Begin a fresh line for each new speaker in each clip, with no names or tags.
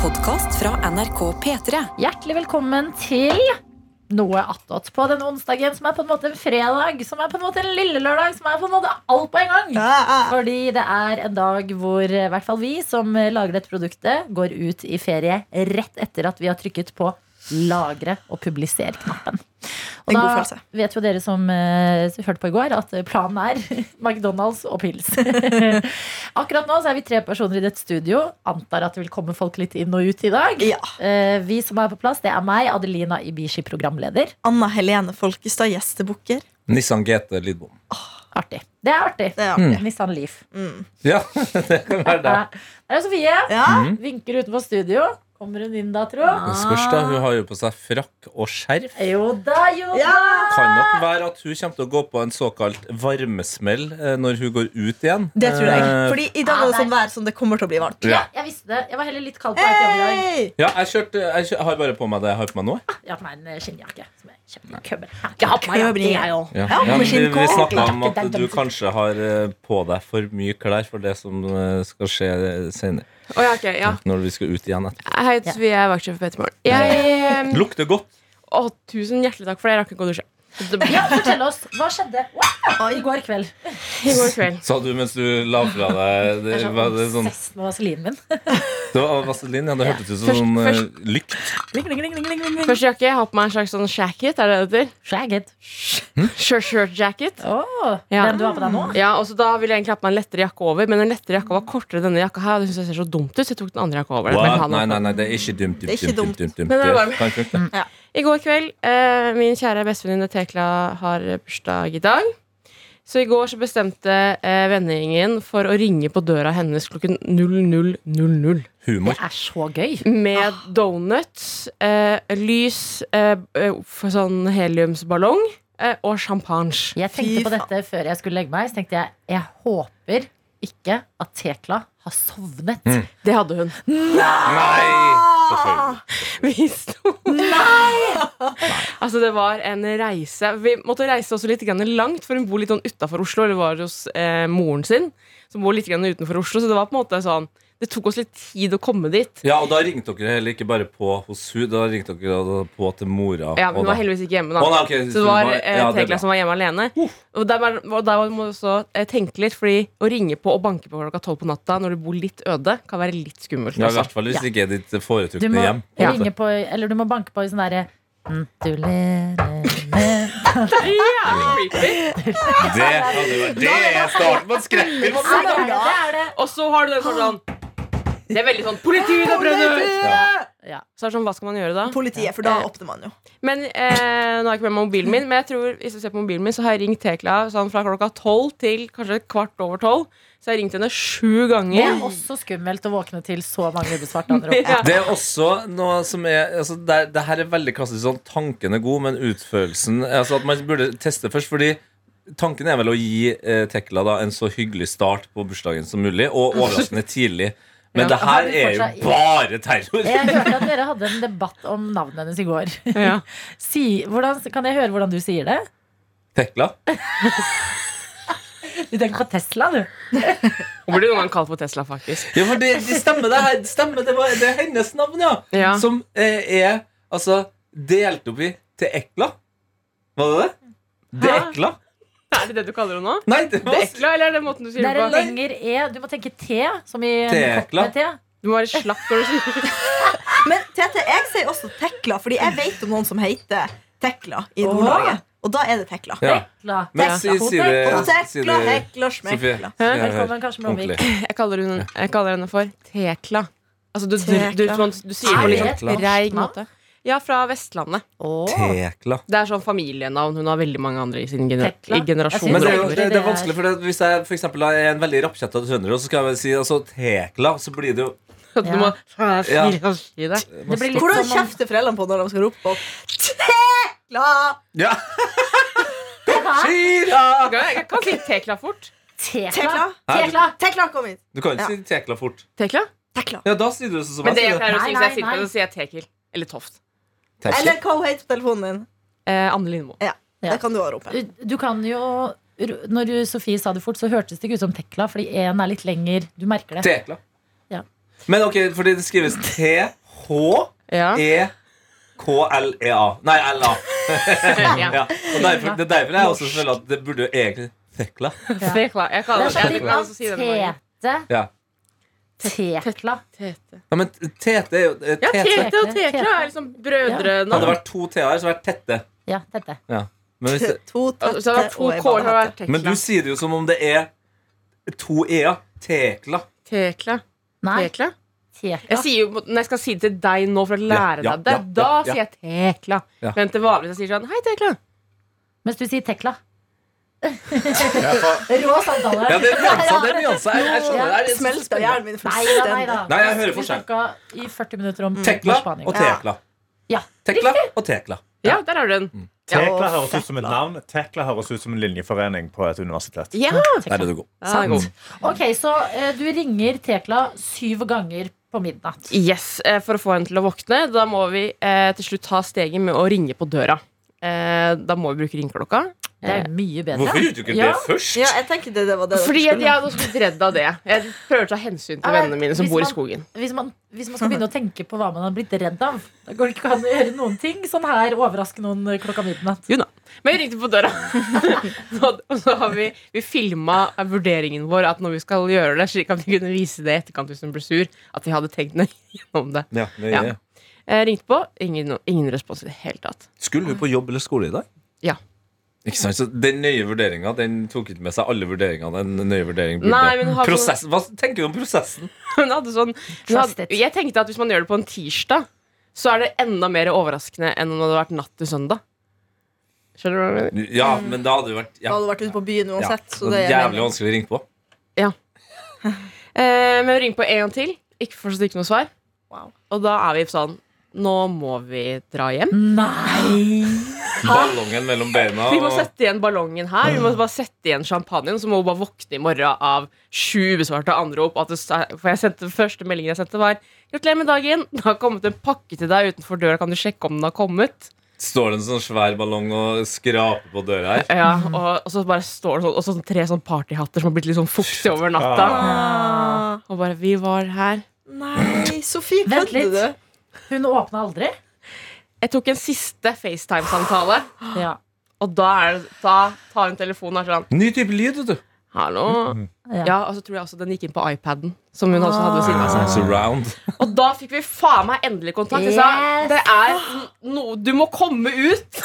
podkast fra NRK P3.
Hjertelig velkommen til noe attåt på denne onsdagen, som er på en måte en fredag, som er på en måte en lille lørdag, som er på en måte alt på en gang. Fordi det er en dag hvor eh, i hvert fall vi som eh, lager dette produktet, går ut i ferie rett etter at vi har trykket på lagre og publiser-knappen. Og
En god
da
følelse.
vet jo dere som eh, hørte på i går, at planen er McDonald's og pils. Akkurat nå så er vi tre personer i dette studio. Antar at det vil komme folk litt inn og ut i dag.
Ja.
Eh, vi som er på plass, det er meg, Adelina Ibishi, programleder.
Anna Helene Folkestad, gjestebukker.
Nissan GT Lidbom.
Artig. Det er artig.
Det er
Mm.
artig.
Nissan Leaf.
Ja, det kan være det.
Der er Sofie.
Ja.
Mm.
Mm.
Vinker utenfor studio. Kommer hun inn da, tro?
Det spørs, da. Hun har jo på seg frakk og skjerf.
Jo da, jo da.
Kan nok være at hun kommer til å gå på en såkalt varmesmell eh, når hun går ut igjen.
Det tror jeg.
Eh,
Fordi i dag var det sånn vær som det kommer til å bli varmt.
ja.
Ja, jeg visste det. Jeg var heller litt kald på vei til jobb i dag.
Hey!
Ja, jeg, kjørte, jeg kjør- jeg har bare på meg det jeg har på meg nå. jeg.
Jeg har på meg en eh, skinnjakke. Som er kjempekøbber. Jeg har ikke hatt på meg
Købring.
jakke, jeg òg.
Ja.
Ja,
men vi vi
skinnkål.
snakka om at du kanskje har eh, på deg for mye klær for det som eh, skal skje senere.
Å ja, ok, ja.
Når vi skal ut igjen etterpå.
Hei,
Ja.
Sofie, jeg er vaktsjef for Petermorgen. Jeg
Lukter godt.
Å, tusen hjertelig takk for det. Jeg rakk ikke å dusje. Det-
Ja, fortell oss. Hva skjedde wow, i går kveld?
I går kveld.
Sa du mens du la fra deg det,
Jeg er
var det,
sånn
sånn,
obsess med vaselinen min.
det var vaselin? Ja, det hørtes ut
Først-
som eh,
først-
lykt.
Ling, ling, ling, ling, ling, ling, ling.
Første jakke. Jeg har på meg en slags sånn shacket. Er det det heter?
Shagget.
Shirt, shirt jacket.
Åh,
Ja.
Den du har på deg nå?
Ja, og så Da ville jeg egentlig ha på meg en lettere jakke over, men den lettere jakka var kortere enn denne jakka her. Og det synes jeg ser så dumt ut, så jeg tok den andre jakka over. den. Men
Wow.
han-
Nei, nei, nei, det er ikke dumt.
Det er ikke dumt.
dumt, dumt,
Men det er
dumt.
bare-
Det kan funke.
I går kveld, eh, min kjære bestevenninne Tekla har bursdag i dag. Så i går så bestemte eh, vennegjengen for å ringe på døra hennes klokken 00.00.
Det
Humor.
er så gøy.
Med donuts, eh, lys, eh, eh, for sånn heliumsballong eh, og champagne.
Jeg tenkte
Fy
på dette før jeg skulle legge meg. Så tenkte jeg jeg håper ikke at Tekla har sovnet.
Mm.
Det hadde hun.
Nei! Selvfølgelig.
Vi sto Nei! altså, det var en reise. Vi måtte reise også litt grann langt, for hun bor litt sånn utafor Oslo. Eller var hos eh, moren sin, som bor litt grann utenfor Oslo. Så det var på en måte sånn Det tok oss litt tid å komme dit.
Ja, og da ringte dere heller ikke bare på hos hun, da ringte dere da på til mora.
Ja, men
og
Hun var
da-
heldigvis ikke hjemme, da.
Å, nei, ok,
Så det
hun
var
var-
eh,
ja, det er bra.
Tekla som var hjemme alene. Og der, var- og der må du også eh, tenke litt, fordi å ringe på og banke på klokka tolv på natta når du bor litt øde, kan være litt skummelt.
Ja, I
altså.
hvert fall hvis ikke er ditt
Du
foretrukne
må
hjem.
ringe på Eller du må banke på i sånn derre mm, du le- le- le.
Jævlig creepy.
Det, hadde vært- det er starten på en
Det
skrekkfilm!
er det, det er det.
Og så har du den sånn Det er veldig sånn Politi, da brenner du!
Ja.
Så er det sånn, hva skal man gjøre da?
Politiet, for da åpner man jo.
Men eh, Nå har jeg ikke med meg mobilen min, men jeg tror hvis du ser på mobilen min, så har jeg ringt Tekla sånn fra klokka tolv til kanskje kvart over tolv. Så jeg har ringt henne sju
Det er
ganger.
også skummelt å våkne til så mange ubesvarte andre
Ja.
Det er også noe som er altså, det, er- det her er veldig klassisk sånn tanken er god, men utførelsen altså, At man burde teste først, fordi tanken er vel å gi eh, Tekla da, en så hyggelig start på bursdagen som mulig, og overraskende tidlig. Men
Ja,
det her
har du
er
fortsatt-
jo bare terror.
Jeg hørte at dere hadde en debatt om navnet hennes i går.
Ja.
Si, hvordan, kan jeg høre hvordan du sier det?
Tekla?
Du tenker på Tesla, du.
Hun blir noen ganger kalt for Tesla, faktisk.
Ja, for det, det stemmer, det her. Det Stemmer, det, var, det er hennes navn, ja.
Ja.
Som eh, er altså delt opp i til Ekla. Var det det? Det
Hæ?
Ekla?
Er det det du kaller henne nå?
Nei, det var
Det ekle, eller er det måten du sier
Det er
det
en
på?
lengre E. Du må tenke T, som i en kopp
Tekla.
med te.
Du må være slapp når du sier
Men Tete, jeg sier også Tekla, fordi jeg vet om noen som heter Tekla i
Åh.
Nord-Norge. Og da er det Tekla.
ja.
Tekla.
Men si, si det,
Og
si
Tekla,
det
Hekla,
Sofie.
Smekla.
Si det her.
Velkommen, Karsten Blomvik.
Ordentlig.
Jeg kaller, hun, jeg kaller henne for Tekla. Altså, du, du, du,
Tekla.
sånn- du sier det på litt
Er det
sånn
et
reig
norsk
måte. Ja, fra Vestlandet.
Åh.
Tekla.
Det er sånn familienavn. Hun har veldig mange andre i sin gener
Tekla.
i generasjon.
Men det er jo
Roger,
det, det
det er-
er vanskelig, for det, hvis jeg for eksempel, er en veldig rappkjetta trønder, og så skal jeg si altså, Tekla, så blir det jo
At du må
Ja.
si det.
Det blir litt
Hvordan
som om-
kjefter foreldrene på når de skal rope opp Tekla?
Ja!
Hæ?
Skira!
Jeg kan si Tekla fort.
Tekla.
Tekla,
Tekla.
Tekla, kom hit.
Du kan ikke si Tekla fort.
Tekla?
Tekla.
Ja, da sier du det sånn som
Men det
jeg
jeg
sier det.
pleier å si hvis jeg
Nei,
sier
nei,
det, så sier jeg Tekil. Eller Toft.
Tekla.
Eller hva hun heter på telefonen din.
Eh, Anne Lindmo.
Ja.
Det kan du også rope.
Du- Du kan jo Når du- Sofie sa det fort, så hørtes det ikke ut som Tekla, fordi E-en er litt lenger. Du merker det.
Tekla.
Ja.
Men ok, fordi det skrives E T-H-E-K-L-E-A.
Ja.
E Nei, L-A.
Ja.
Ja. Og derfor, det er derfor jeg også føler at det burde jo egentlig Tekla.
Tekla. Jeg kaller
Det er sånn
jeg
litt
kan også si det noen ganger.
av Tete.
Ja.
Tekla.
Tete.
ja, men Tete er jo eh,
Ja,
Tete.
Tete og Tekla er liksom
Hadde det
brødrenavn.
vært to T-er, så hadde det vært Tette.
Ja, Tete.
Men, hvis det,
To
Altså, Så hadde det
tette
vært to
og ei
K-er, så hadde det
badehette.
vært
men du
Tekla.
sier det jo som om det er to E-er. Tekla.
Tekla.
Nei,
Tekla. Jeg
Tekla.
sier jo, når jeg skal si det til deg nå for å lære
ja,
deg det,
ja,
da
ja,
sier jeg Tekla.
Ja.
Men til vanlig så sier jeg sånn Hei, Tekla.
Mens du sier Tekla.
Ja, fa-
Rå samtale.
ja, det er nyanser. Det er nyanser. Jeg, jeg skjønner det. er litt
Smelta
spennende.
hjernen min
Nei da, nei da.
Nei, jeg hører
Vi
forskjell.
snakka i 40 minutter om
Tekla
Spania.
og Tekla.
Ja.
Tekla og Tekla.
Ja, der har du
Mm.
den.
Tekla
og
høres ut som et
Tekla.
navn. Tekla høres ut som en linjeforening på et universitet.
Ja!
Der er du god.
Ja, den er god.
Ok, så eh, du ringer Tekla syv ganger på midnatt.
Yes, eh, For å få henne til å våkne, da må vi eh, til slutt ta steget med å ringe på døra. Eh, da må vi bruke ringeklokka.
Det er mye bedre.
Hvorfor gjorde du ikke
Ja.
det først?
Ja, jeg tenkte det, det var det dere
Fordi at
skulle.
jeg hadde også blitt redd av det. Jeg prøver å ta hensyn
Ja, men
til vennene mine som
hvis
bor i
man-
skogen.
Hvis man, hvis man skal begynne å tenke på hva man har blitt redd av, da går det ikke an å gjøre noen ting sånn her, overraske noen eh, klokka midnatt.
Men jeg ringte på døra. og og så har vi, vi filma vurderingen vår at når vi skal gjøre det, slik at vi kunne vise det i etterkant hvis hun ble sur, at vi hadde tenkt nøye gjennom det.
Ja, det
Ja. Jeg ringte på, ingen, ingen respons i det hele tatt.
Skulle du på jobb eller skole i dag?
Ja.
Ikke sant, så Den nøye vurderinga den tok ikke med seg alle vurderingene. En nøye vurdering burde
Nei, men har-
Prosess, Hva tenker du om prosessen?
Hun hadde sånn hun
Trust
hadde,
it.
Jeg tenkte at hvis man gjør det på en tirsdag, så er det enda mer overraskende enn om det hadde vært natt til søndag. Skjønner du hva jeg mener?
Ja, men da hadde det vært
Da
ja,
hadde du vært ute på byen
ja,
uansett. Så
det
det
er Jævlig vanskelig å ringe på.
Eh, men ring på en gang til. Ikke fortsatt ikke noe svar. Og da er vi sånn Nå må vi dra hjem.
Nei!
Ballongen mellom beina.
Vi må
og-
sette igjen ballongen her. Vi må bare sette igjen champagnen. Så må hun bare våkne i morgen av sju ubesvarte anrop. At det, for jeg sendte, første meldingen jeg sendte, var Gratulerer med dagen. Det har kommet en pakke til deg utenfor døra. Kan du sjekke om den har kommet?
Står det en sånn svær ballong og skraper på døra her?
Ja, og, og så bare står det sånn, og sånn tre sånn partyhatter som har blitt litt sånn fuktige over natta.
Ah,
Og bare 'Vi var her'.
Nei, Sofie,
Vent
kødder du?
litt. Hun åpna aldri.
Jeg tok en siste FaceTime-samtale,
Ja.
og da, er det, da tar hun telefonen og er sånn
Ny type lyd, vet du.
'Hallo'.
Ja.
Ja, Og så tror jeg også den gikk inn på iPaden, som hun også hadde ved siden av seg.
Sånn Surround.
Og da fikk vi faen meg endelig kontakt. Jeg sa
Yes.
det er noe Du må komme ut!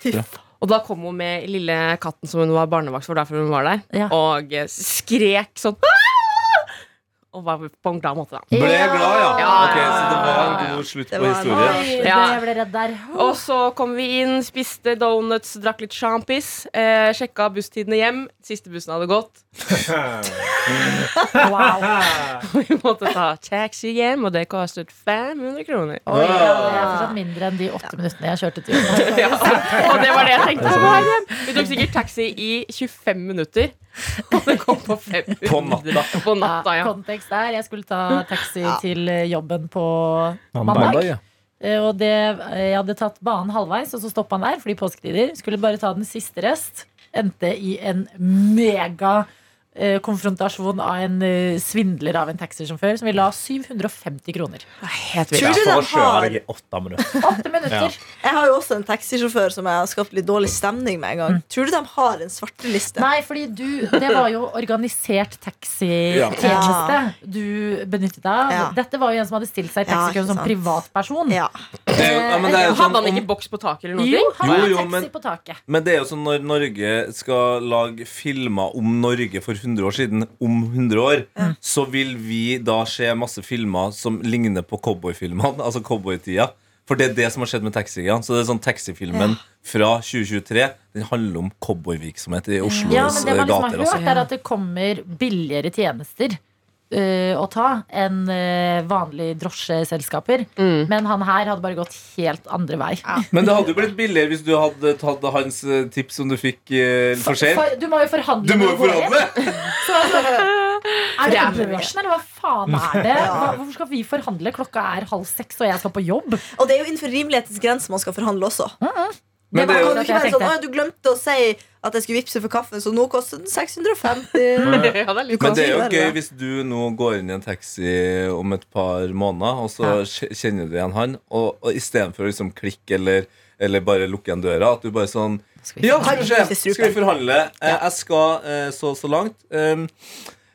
Fy faen.
Og da kom hun med lille katten som hun var barnevakt for, derfor hun var der,
Ja.
og eh, skrek sånn «Ah!» Og var på en glad måte, da.
Ble jeg glad, ja.
Ja.
Ok, Så det var en god slutt
Det
på
var en-
historien.
Oi, det
Ja.
jeg ble redd der.
Og så kom vi inn, spiste donuts, drakk litt sjampis. Eh, sjekka busstidene hjem. Siste bussen hadde gått.
Wow.
Vi måtte ta taxi hjem, og det kostet 500 kroner.
Oi, ja, det er fortsatt mindre enn de åtte minuttene jeg kjørte til jobb.
Ja. Og det var det jeg tenkte. på vei hjem. Vi tok sikkert taxi i 25 minutter. Og det kom på 500.
På natta.
På natta, ja.
Kontekst der. Jeg skulle ta taxi til eh, jobben på
Mandag.
mandag.
ja.
Eh, Og det, eh, jeg hadde tatt banen halvveis, og så stoppa han der fordi påsketider. Skulle bare ta den siste rest. Endte i en mega eh, konfrontasjon av en eh, svindler av en taxisjåfør som ville ha 750 kroner.
Helt
Tror
Jeg
du
får
den
kjøre
har
deg i åtte minutter.
Åtte minutter!
Jeg har jo også en taxisjåfør som jeg har skapt litt dårlig stemning med en gang.
Mm.
Tror du de har en svarteliste?
Nei, fordi du Det var jo organisert taxitjeneste
Ja.
du benyttet deg av.
Ja.
Dette var jo en som hadde stilt seg i
Ja,
taxikøen
ikke
som
sant.
privatperson.
Ja.
Det er jo- ja, men det er jo
Hadde han
sånn-
ikke boks på taket eller
Jo,
noe?
han
Jo,
hadde
jo,
taxi
men-
på taket.
Men det er jo sånn når Norge skal lage filmer om Norge for 100 år siden, om 100 år, så vil vi da se masse filmer som ligner på cowboyfilmene, altså cowboytida. For det er det som har skjedd med taxiene. Så det er sånn taxifilmen fra 2023 Den handler om cowboyvirksomhet i Oslos
Ja, men det man liksom har
gater. Altså.
hørt, er at det kommer billigere tjenester eh, å ta enn eh, vanlige drosjeselskaper.
Mm.
Men han her hadde bare gått helt andre vei.
Men det hadde jo blitt billigere hvis du hadde tatt hans eh, tips som du fikk eh, for sent.
For, du må jo forhandle.
Du må jo
med våre.
forhandle!
Så jeg bare, Er det på
Det er-
børsen, eller hva faen er det? Hva, hvorfor skal vi forhandle? Klokka er halv seks, og jeg skal på jobb.
Og det er jo innenfor rimelighetens grense man skal forhandle også.
Men
Det
det er
var
jo
Kan du ikke
Mm. jeg
være sånn,
tenkte.
«Å, du glemte å si at jeg skulle vippse for kaffen, så nå koster den 650.
Ja, det er
Du
litt
kan
Mm. Men det er jo
si det,
gøy
da.
hvis du nå går inn i en taxi om et par måneder, og så kje- kjenner du igjen han, og, og istedenfor å liksom klikke eller, eller bare lukke igjen døra, at du bare sånn Ja, herre sjef, skal vi forhandle? Eh, Jeg skal eh, så så langt. Um,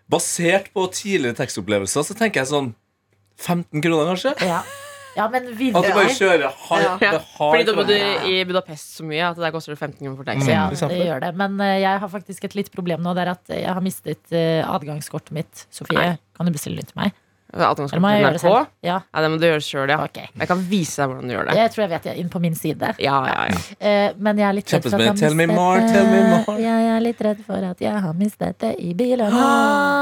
basert på tidligere taxiopplevelser så tenker jeg sånn 15 kroner, kanskje?
Ja, ja men
At du bare
videre.
kjører hard.
Ja.
med hard
Fordi da bodde
forhandling.
i Budapest så mye at der koster det 15 kroner for taxi.
Ja,
Mm,
det gjør det. Men eh, jeg har faktisk et litt problem nå. Det er at jeg har mistet eh, adgangskortet mitt. Sofie,
Nei.
kan du bestille det til meg?
Adgangskort
Eller må jeg
til
gjøre det
NRK.
selv? Ja,
Ja, det må du gjøre sjøl, ja.
ok.
Jeg kan vise deg hvordan du gjør det.
Jeg tror jeg vet jeg er inn på min side.
Ja, ja, ja.
Eh, men jeg er litt redd for at jeg har
Kjempespennende. Tell me
mistet
more, tell me
det.
more.
Jeg er litt redd for at jeg har mistet det i bilen.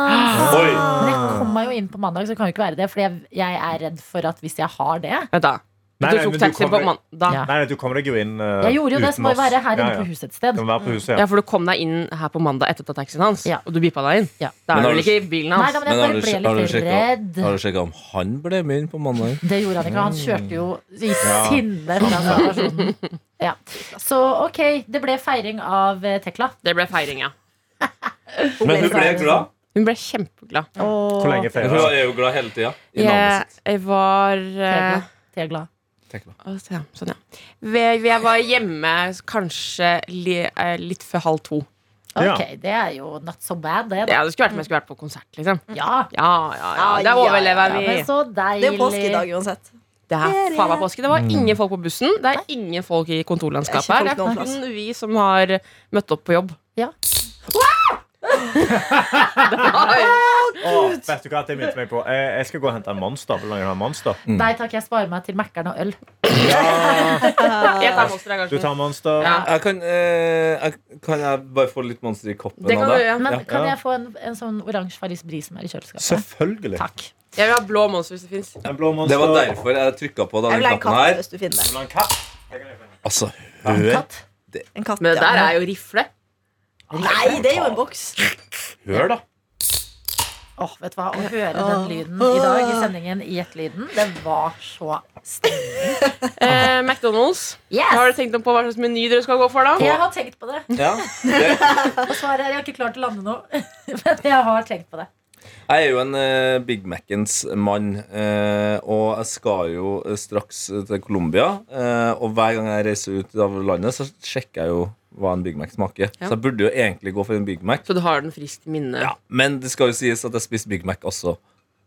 Men
Oi!
jeg kom meg jo inn på mandag, så kan jo ikke være det. For jeg, jeg er redd for at hvis jeg har det
Vent, da.
Nei,
du
nei,
tok
men du
taxi på
kommer-
mandag.
Ja.
Ja.
Nei, nei, du kommer deg jo inn eh,
Jeg gjorde jo det, så
uten
må jeg
oss.
være her
Ja,
inne
ja.
på huset et sted.
Du må være på huset, ja.
for du kom deg inn her på mandag etter å ta taxien hans.
Ja.
Og du beepa deg inn.
Ja.
Da
Men har
er du vel
du-
ikke i bilen
Nei,
hans.
da, men
Men
jeg
har
bare
du,
ble
sj- har du
litt redd.
sjekka- har du sjekka om han ble med inn på mandag?
Det gjorde han ikke. Han kjørte jo i
Ja.
sinne fra situasjonen. Ja. Så ok, det ble feiring av eh, Tekla.
Det ble feiring, ja.
Men hun ble glad.
Hun ble kjempeglad.
Og
Hvor lenge
Hun
feirer du?
er jo glad hele tida. I navnet
Jeg,
sitt.
jeg var eh,
Tegla. Tegla.
Tekla.
å, se, Sånn, ja. Jeg, jeg var hjemme kanskje li, eh, litt før halv to.
Ja.
Ok, det er jo not so bad, det. da.
Ja, det skulle vært om jeg skulle vært på konsert, liksom.
Ja.
Ja, ja, ja.
Ah,
Det
ja,
overlever
ja
vi.
men så
Det er jo påske i
deilig.
dag uansett.
Det er faen meg påske. Det var ingen folk på bussen. Det er ingen folk i kontorlandskapet. her.
Det er
Det
ikke folk
er
noen
kun vi som har møtt opp på jobb.
Ja.
Åh, vet du hva det minte meg på? Jeg, jeg skal gå og hente en monster. Vil noen ha en monster?
Mm.
Nei takk, jeg sparer meg til Mækkern og øl.
Jeg tar monster en gang.
Du tar monster.
Ja.
Jeg kan, eh, jeg, kan jeg bare få litt monster i koppen
Det kan
av
du
det?
gjøre.
Men
Ja.
kan
Ja.
jeg få en, en sånn oransje Farris Bris som er i kjøleskapet?
Selvfølgelig.
Takk.
Jeg vil ha blå monster hvis det fins.
En blå monster.
Det var derfor jeg trykka på
Jeg
denne
vil ha en
knappen
katt
her.
hvis du finner det.
En katt.
Altså, hør,
Katt.
En katt,
Men det
ja.
der er jo rifle.
Nei, det er jo en boks.
hør da.
Åh, vet du hva, Å høre den lyden i dag i sendingen i Gjett-lyden, det var så
Eh, McDonald's. Hva har
Yes!
du tenkt om på hva slags meny dere skal gå for, da?
Jeg har tenkt på det.
Ja. Det,
Og svaret er jeg har ikke klart å lande noe. Men jeg har tenkt på det.
jeg er jo en eh, Big Mac-ens mann, eh, og jeg skal jo eh, straks til Colombia. eh, og hver gang jeg reiser ut av landet, så sjekker jeg jo hva en Big Mac smaker.
Ja.
Så jeg burde jo egentlig gå for en Big Mac.
Så du har den friskt i minnet.
Ja, men det skal jo sies at jeg spiste Big Mac også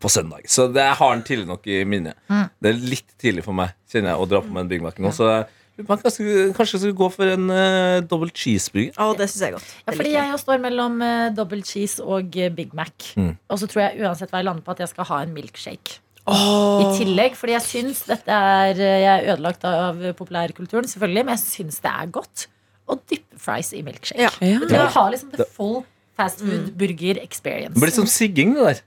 på søndag. Så det jeg har den tidlig nok i minnet.
Mm.
Det er litt tidlig for meg, kjenner jeg, å dra på meg en Big Mac nå. Så jeg lurer på om jeg kanskje- kanskje jeg skulle gå for en uh, dobbel cheeseburger.
Å, det syns jeg er godt.
Ja,
Det
fordi
liker
jeg jo står mellom uh, double cheese og eh, Big Mac.
Mm.
Og så tror jeg uansett hva jeg lander på, at jeg skal ha en milkshake. I tillegg, fordi jeg syns dette er eh, Jeg er ødelagt av eh, populærkulturen, selvfølgelig, men jeg syns det er godt å dyppe fries i milkshake.
Ja.
Ja.
Jeg tror jeg har liksom the full fast food burger experience.
Det Mm. sånn blir som sigging, det der.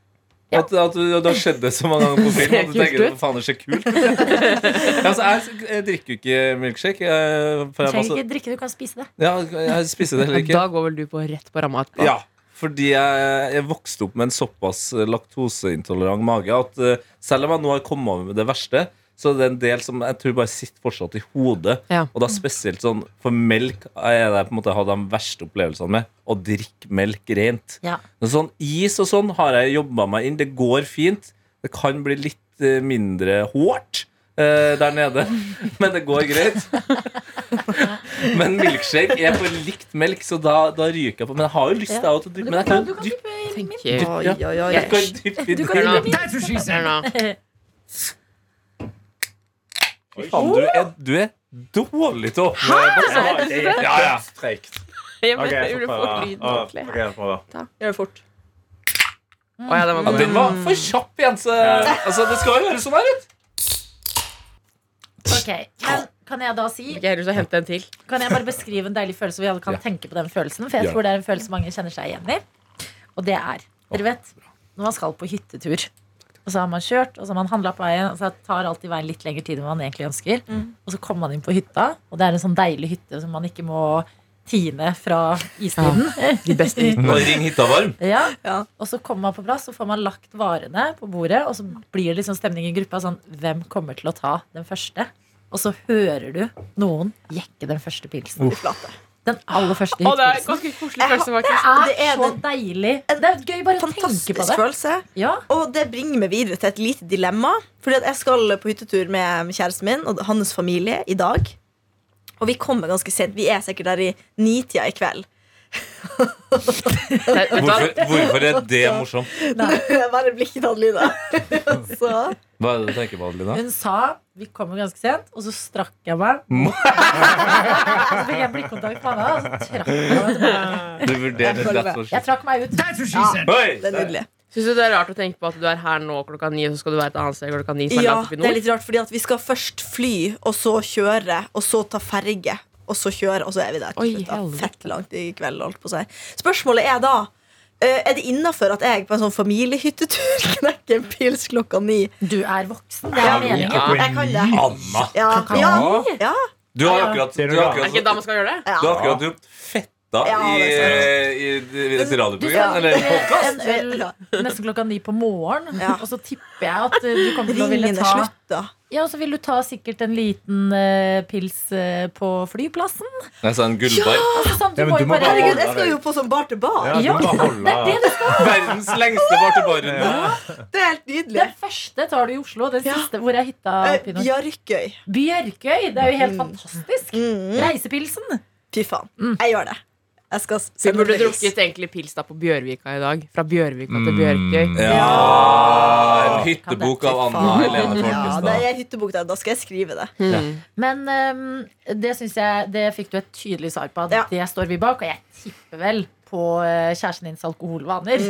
Ja.
At, at du, du har skjedd det så mange ganger på film at du
Ser kult
tenker
ut.
faen, det ser kult ut. Ja, altså, jeg, jeg drikker jo ikke milkshake. Jeg,
Du
for jeg, var
trenger
så-
ikke drikke, du kan spise det.
ja, jeg spiser det heller ikke.
Da går vel du på rett på ramma etterpå.
Ja, fordi jeg, jeg vokste opp med en såpass eh, laktoseintolerant mage at eh, selv om jeg nå har kommet over med det verste, så er det en del som jeg tror bare sitter fortsatt i hodet.
Ja.
Og da spesielt sånn For melk er det jeg på en måte har de verste opplevelsene med. Å drikke melk rent.
Ja.
Men sånn is og sånn har jeg jobba meg inn. Det går fint. Det kan bli litt eh, mindre hårt eh, der nede, men det går greit. Men milkshake er for likt melk, så da, da ryker jeg på. Men jeg har jo lyst jeg også, til å dyppe. Men jeg kan jo dyppe
Tenker.
Oi, oi, oi.
jeg kan dyppe i
Du kan
det.
Hør
jo
nå.
bli minst-
Hør nå.
Oi.
Faen, du er, du er dårlig til å åpne boksen.
Ja, det er
Ja, ja.
Treigt.
Jeg vet,
Ok, jeg Ah.
jeg burde
får prøve.
fått lyden
Å,
ordentlig.
ok, jeg får prøve.
Gjør det fort.
Å, ja, den var
Ja,
god.
den var for kjapp igjen, så altså, Det skal jo høres sånn her ut.
Ok, men kan jeg da si
Jeg har lyst til å hente en til.
Kan jeg bare beskrive en deilig følelse hvor vi alle kan
Ja.
tenke på den følelsen? For jeg
Gjør
tror det er en følelse mange kjenner seg igjen i. Og det er, dere vet, når man skal på hyttetur. Og så har man kjørt, og så har man handla på veien, og så tar alltid veien litt lengre tid enn man egentlig ønsker. Og så kommer man inn på hytta, og det er en sånn deilig hytte som man ikke må tine fra istiden.
De beste hyttene.
Nå ring hytta varm.
Ja.
Ja.
Og så kommer man på plass, og får man lagt varene på bordet, og så blir det liksom stemning i gruppa sånn Hvem kommer til å ta den første? og så hører du noen jekke den første pilsen. Den aller første
Og det er
pilsen.
ganske koselig følelse, faktisk.
Det
Det er
er så
den-
deilig. Det er gøy bare å tenke
Fantastisk
på det.
følelse.
Ja,
Og det bringer meg videre til et lite dilemma. Fordi at Jeg skal på hyttetur med kjæresten min og hans familie i dag. Og vi kommer ganske sent. Vi er sikkert der i nitida i kveld.
Nei, vet du hva?
Hvorfor, hvorfor er det morsomt?
Jeg bare blir ikke tatt lyda. Så
Hva er det du tenker på, Adelina?
Hun sa Vi kommer ganske sent, og så strakk jeg meg. så fikk jeg blikkontakt med henne, og så trakk jeg meg tilbake.
Du vurderte
følger
rett og
Jeg
slett
trakk meg ut.
det er nydelig.
Syns du det er rart å tenke på at du er her nå klokka ni, og så skal du være et annet sted klokka ni? som er
Ja,
langt opp i
det er
nord?
litt rart, fordi at vi skal først fly, og så kjøre, og så ta ferge. Og så kjøre, og så er vi der. til
Oi,
slutt, da.
helvete.
Fett langt i kveld, holdt på å si. Spørsmålet er da eh, er det innafor at jeg på en sånn familiehyttetur knekker en pils klokka ni?
Du er voksen. Det er meningen.
Ja.
Jeg kan det.
Anna!
Ja, ja, ja.
Du har akkurat, du har
Er det ikke
akkurat,
da man skal gjøre det?
du har akkurat ropt fetta i,
Ja, det
i, i et radioprogram. Eller en podcast.
En øl nesten klokka ni på morgenen,
Ja.
og så tipper jeg at eh, du kommer til å ville
Ringen er
ta
slutt, da.
Ja, og så vil du ta sikkert en liten eh, pils eh, på flyplassen.
Nei, så en gullbar.
Altså, sånn, du
Ja, men
må
du
jo
må
bare
bare-
Herregud, jeg skal jo på sånn bar til bar.
Ja, du
Ja,
må holde
Det er det du skal.
Verdens lengste bartebarrunde.
Det er helt nydelig.
Den første tar du i Oslo, den
Ja.
siste hvor er hytta?
Eh,
Pinot?
Bjarkøy.
Bjørkøy. Det er jo helt fantastisk.
Mm.
Reisepilsen.
Fy faen. Jeg gjør det. Jeg skal
Vi
sende
burde
bevis.
drukket egentlig pils da på Bjørvika i dag. Fra Bjørvika
Mm.
til Bjørkøy.
Ja! En hyttebok av
Faen.
Anna
Ja,
Helene
det
Folkestad.
er hyttebok der. Da skal jeg skrive det.
Men ehm, det syns jeg Det fikk du et tydelig svar på. At
Ja.
Det står vi bak, og jeg tipper vel på eh, kjæresten dins alkoholvaner.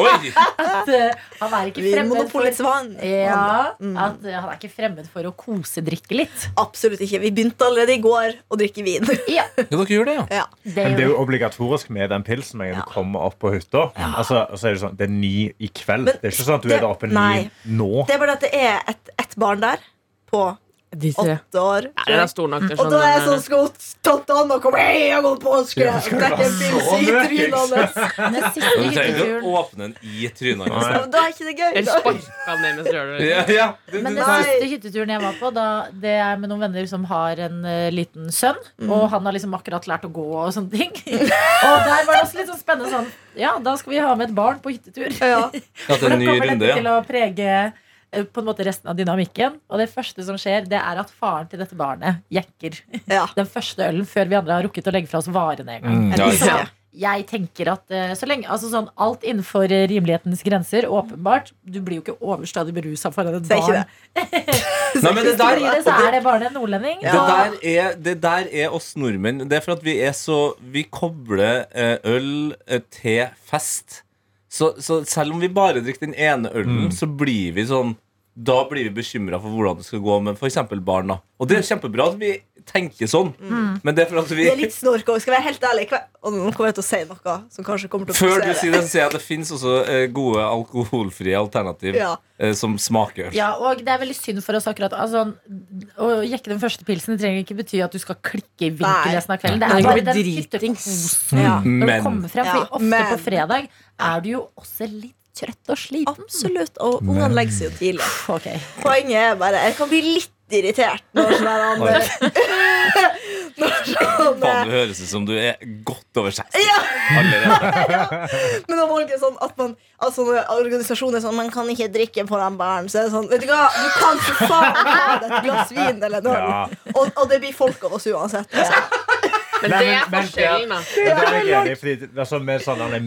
Oi!
At, eh, han er ikke
Mm. Vi
fremmed
monopolets
for
vann. Mm.
ja, at eh, han er ikke fremmed for å kosedrikke litt.
Absolutt ikke. Vi begynte allerede i går å drikke vin.
Ja,
Ja, dere gjør det, ja.
Ja.
det
Men det er
gjør
jo obligatorisk med den pilsen når du kommer opp på hytta. Altså, og så er det sånn, det er ni i kveld.
Men
det er ikke sånn at du
det-
er der oppe
nei.
ni nå.
Det er bare at det er ett et barn der på
De tre.
åtte år.
Nei, den er stor nok til
Og da er jeg sånn
sånn.
skal tante Anna komme hei, jeg har gått påske! Det er
sånn,
en pils i trynet hans.
Den siste
Men Du trenger ikke
hytteturen
å åpne den i trynet.
Nei.
Altså.
Men Da er ikke det gøy.
Eller
Da.
sparka han ned mens du gjør det.
Ja, ja. Du,
men
du,
den
Nei.
siste hytteturen jeg var på, da, det er med noen venner som har en eh, liten sønn.
Mm.
Og han har liksom akkurat lært å gå og sånne ting. og der var det også litt sånn spennende sånn Ja, da skal vi ha med et barn på hyttetur.
Ja.
hatt en
Hvordan
ny
kommer
runde,
dette til
ja.
å prege eh, på en måte resten av dynamikken? Og det første som skjer, det er at faren til dette barnet jekker
Ja.
den første ølen før vi andre har rukket å legge fra oss varene en gang.
Mm,
Jeg
ja, ja.
liker det.
Jeg tenker at eh, så lenge, altså sånn, Alt innenfor eh, rimelighetens grenser, åpenbart. Du blir jo ikke overstadig berusa foran et
Så er ikke
barn.
det.
Nei, men det der
Blir det, så er det bare en nordlending.
Det der, er, det der er oss nordmenn. Det er for at vi er så Vi kobler eh, øl eh, til fest. Så, så selv om vi bare drikker den ene
Mm.
ølen, så blir vi sånn Da blir vi bekymra for hvordan det skal gå med f.eks. barn. da Og det er kjempebra at vi tenker sånn, men det er for at vi
Mm. Det er litt snork òg. Skal jeg være helt ærlig. Hver- Og nå kommer jeg til å si noe sånn som kanskje kommer til å
Før du
provosere.
sier det, så sier jeg at det fins også eh, gode alkoholfrie alternativ
Ja.
eh, som smaker øl.
Ja, og det er veldig synd for oss akkurat altså, Å jekke den første pilsen det trenger ikke bety at du skal klikke i vinkel
Nei.
resten av kvelden. Det
Nei,
er
du
bare
blir
den
dritings.
hyttekosen
Ja.
når
Men-
du kommer frem.
Ja,
For ofte
men-
på fredag er du jo også litt trøtt og sliten.
Absolutt. Og ungene legger seg jo tidlig.
Ok.
Poenget er bare Jeg kan bli litt irritert når sånn her han- Når sånn eh,
Faen, det høres ut som du er godt over 60 allerede.
Men om Norge er sånn at man Altså når organisasjoner er sånn Man kan ikke drikke på den baren Så er det sånn Vet du hva Du kan for faen ta deg et glass vin Eller en øl
Ja.
og, og det blir folk av oss uansett altså.
Men
Nei,
det
men-
er
men-
forskjellen, da.
Men det er jeg enig i, fordi det- altså, Med sånne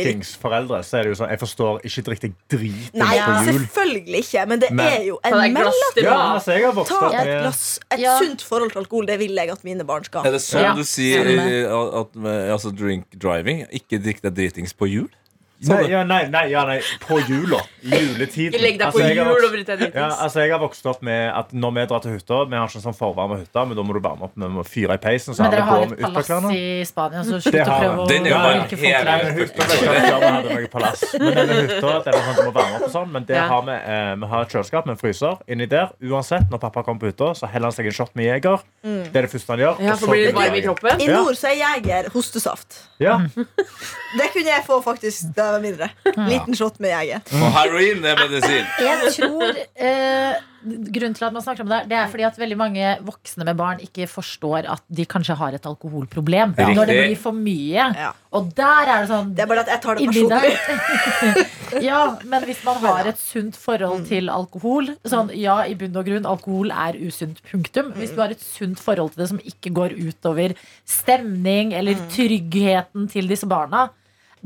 møkingsforeldre så er det jo sånn Jeg forstår, ikke drikk deg dritings
Nei,
på jul.
selvfølgelig ikke Men det
Men-
er jo
Ta
en
deg et glass
mellom
til
Ja,
barn.
altså, jeg har vokst
Ta
opp
et
med
glass Et
Ja.
sunt forhold til alkohol Det vil jeg at mine barn skal
Er det sånn
Ja.
du sier
Stemmer.
eh, at, eh, altså drink driving? Ikke drikk deg dritings på jul? Sånn
Nei,
det-
ja, nei, nei, ja, nei, på jula. Juletiden.
Ikke legg deg på
Altså, jeg har
hjul
vokst-
og bryt deg
Ja,
dritings.
altså jeg har vokst opp med at Når vi drar til hytta Vi har ikke en sånn forvarma hytte, men da må du varme opp med å fyre i peisen. Så
Men dere
alle
har
går
et
med
palass
ytterklærne.
i Spania, så
Det
slutt å
har
prøve å
Den er jo
bare
lirke folk
helt-
Nei,
der.
men hytta ble ikke at vi hadde noe palass. Men denne hytta det er sånn at du må varme opp og sånn. Men det
Ja.
har vi, eh, vi har et kjøleskap med en fryser inni der. Uansett, når pappa kommer på hytta, så heller han seg en shot med Jeger. Det er det første han gjør.
Mm. Ja,
og
for
så
blir litt
drikker
varm i
han.
kroppen. Mm.
I
Ja.
nord så er jeger hostesaft
Ja.
Det kunne jeg få faktisk da da jeg var mindre. Liten shot med jeger.
Og heroin det er medisin.
Jeg tror eh, Grunnen til at man snakker om det, her, det er fordi at veldig mange voksne med barn ikke forstår at de kanskje har et alkoholproblem.
Ja.
Når det
Riktig.
blir for mye.
Ja.
Og der er det sånn
Det er bare at jeg tar det
Inni
personlig.
der. ja, men hvis man har et sunt forhold til alkohol Sånn, ja, i bunn og grunn, alkohol er usunt, punktum. Hvis du har et sunt forhold til det som ikke går utover stemning eller tryggheten til disse barna,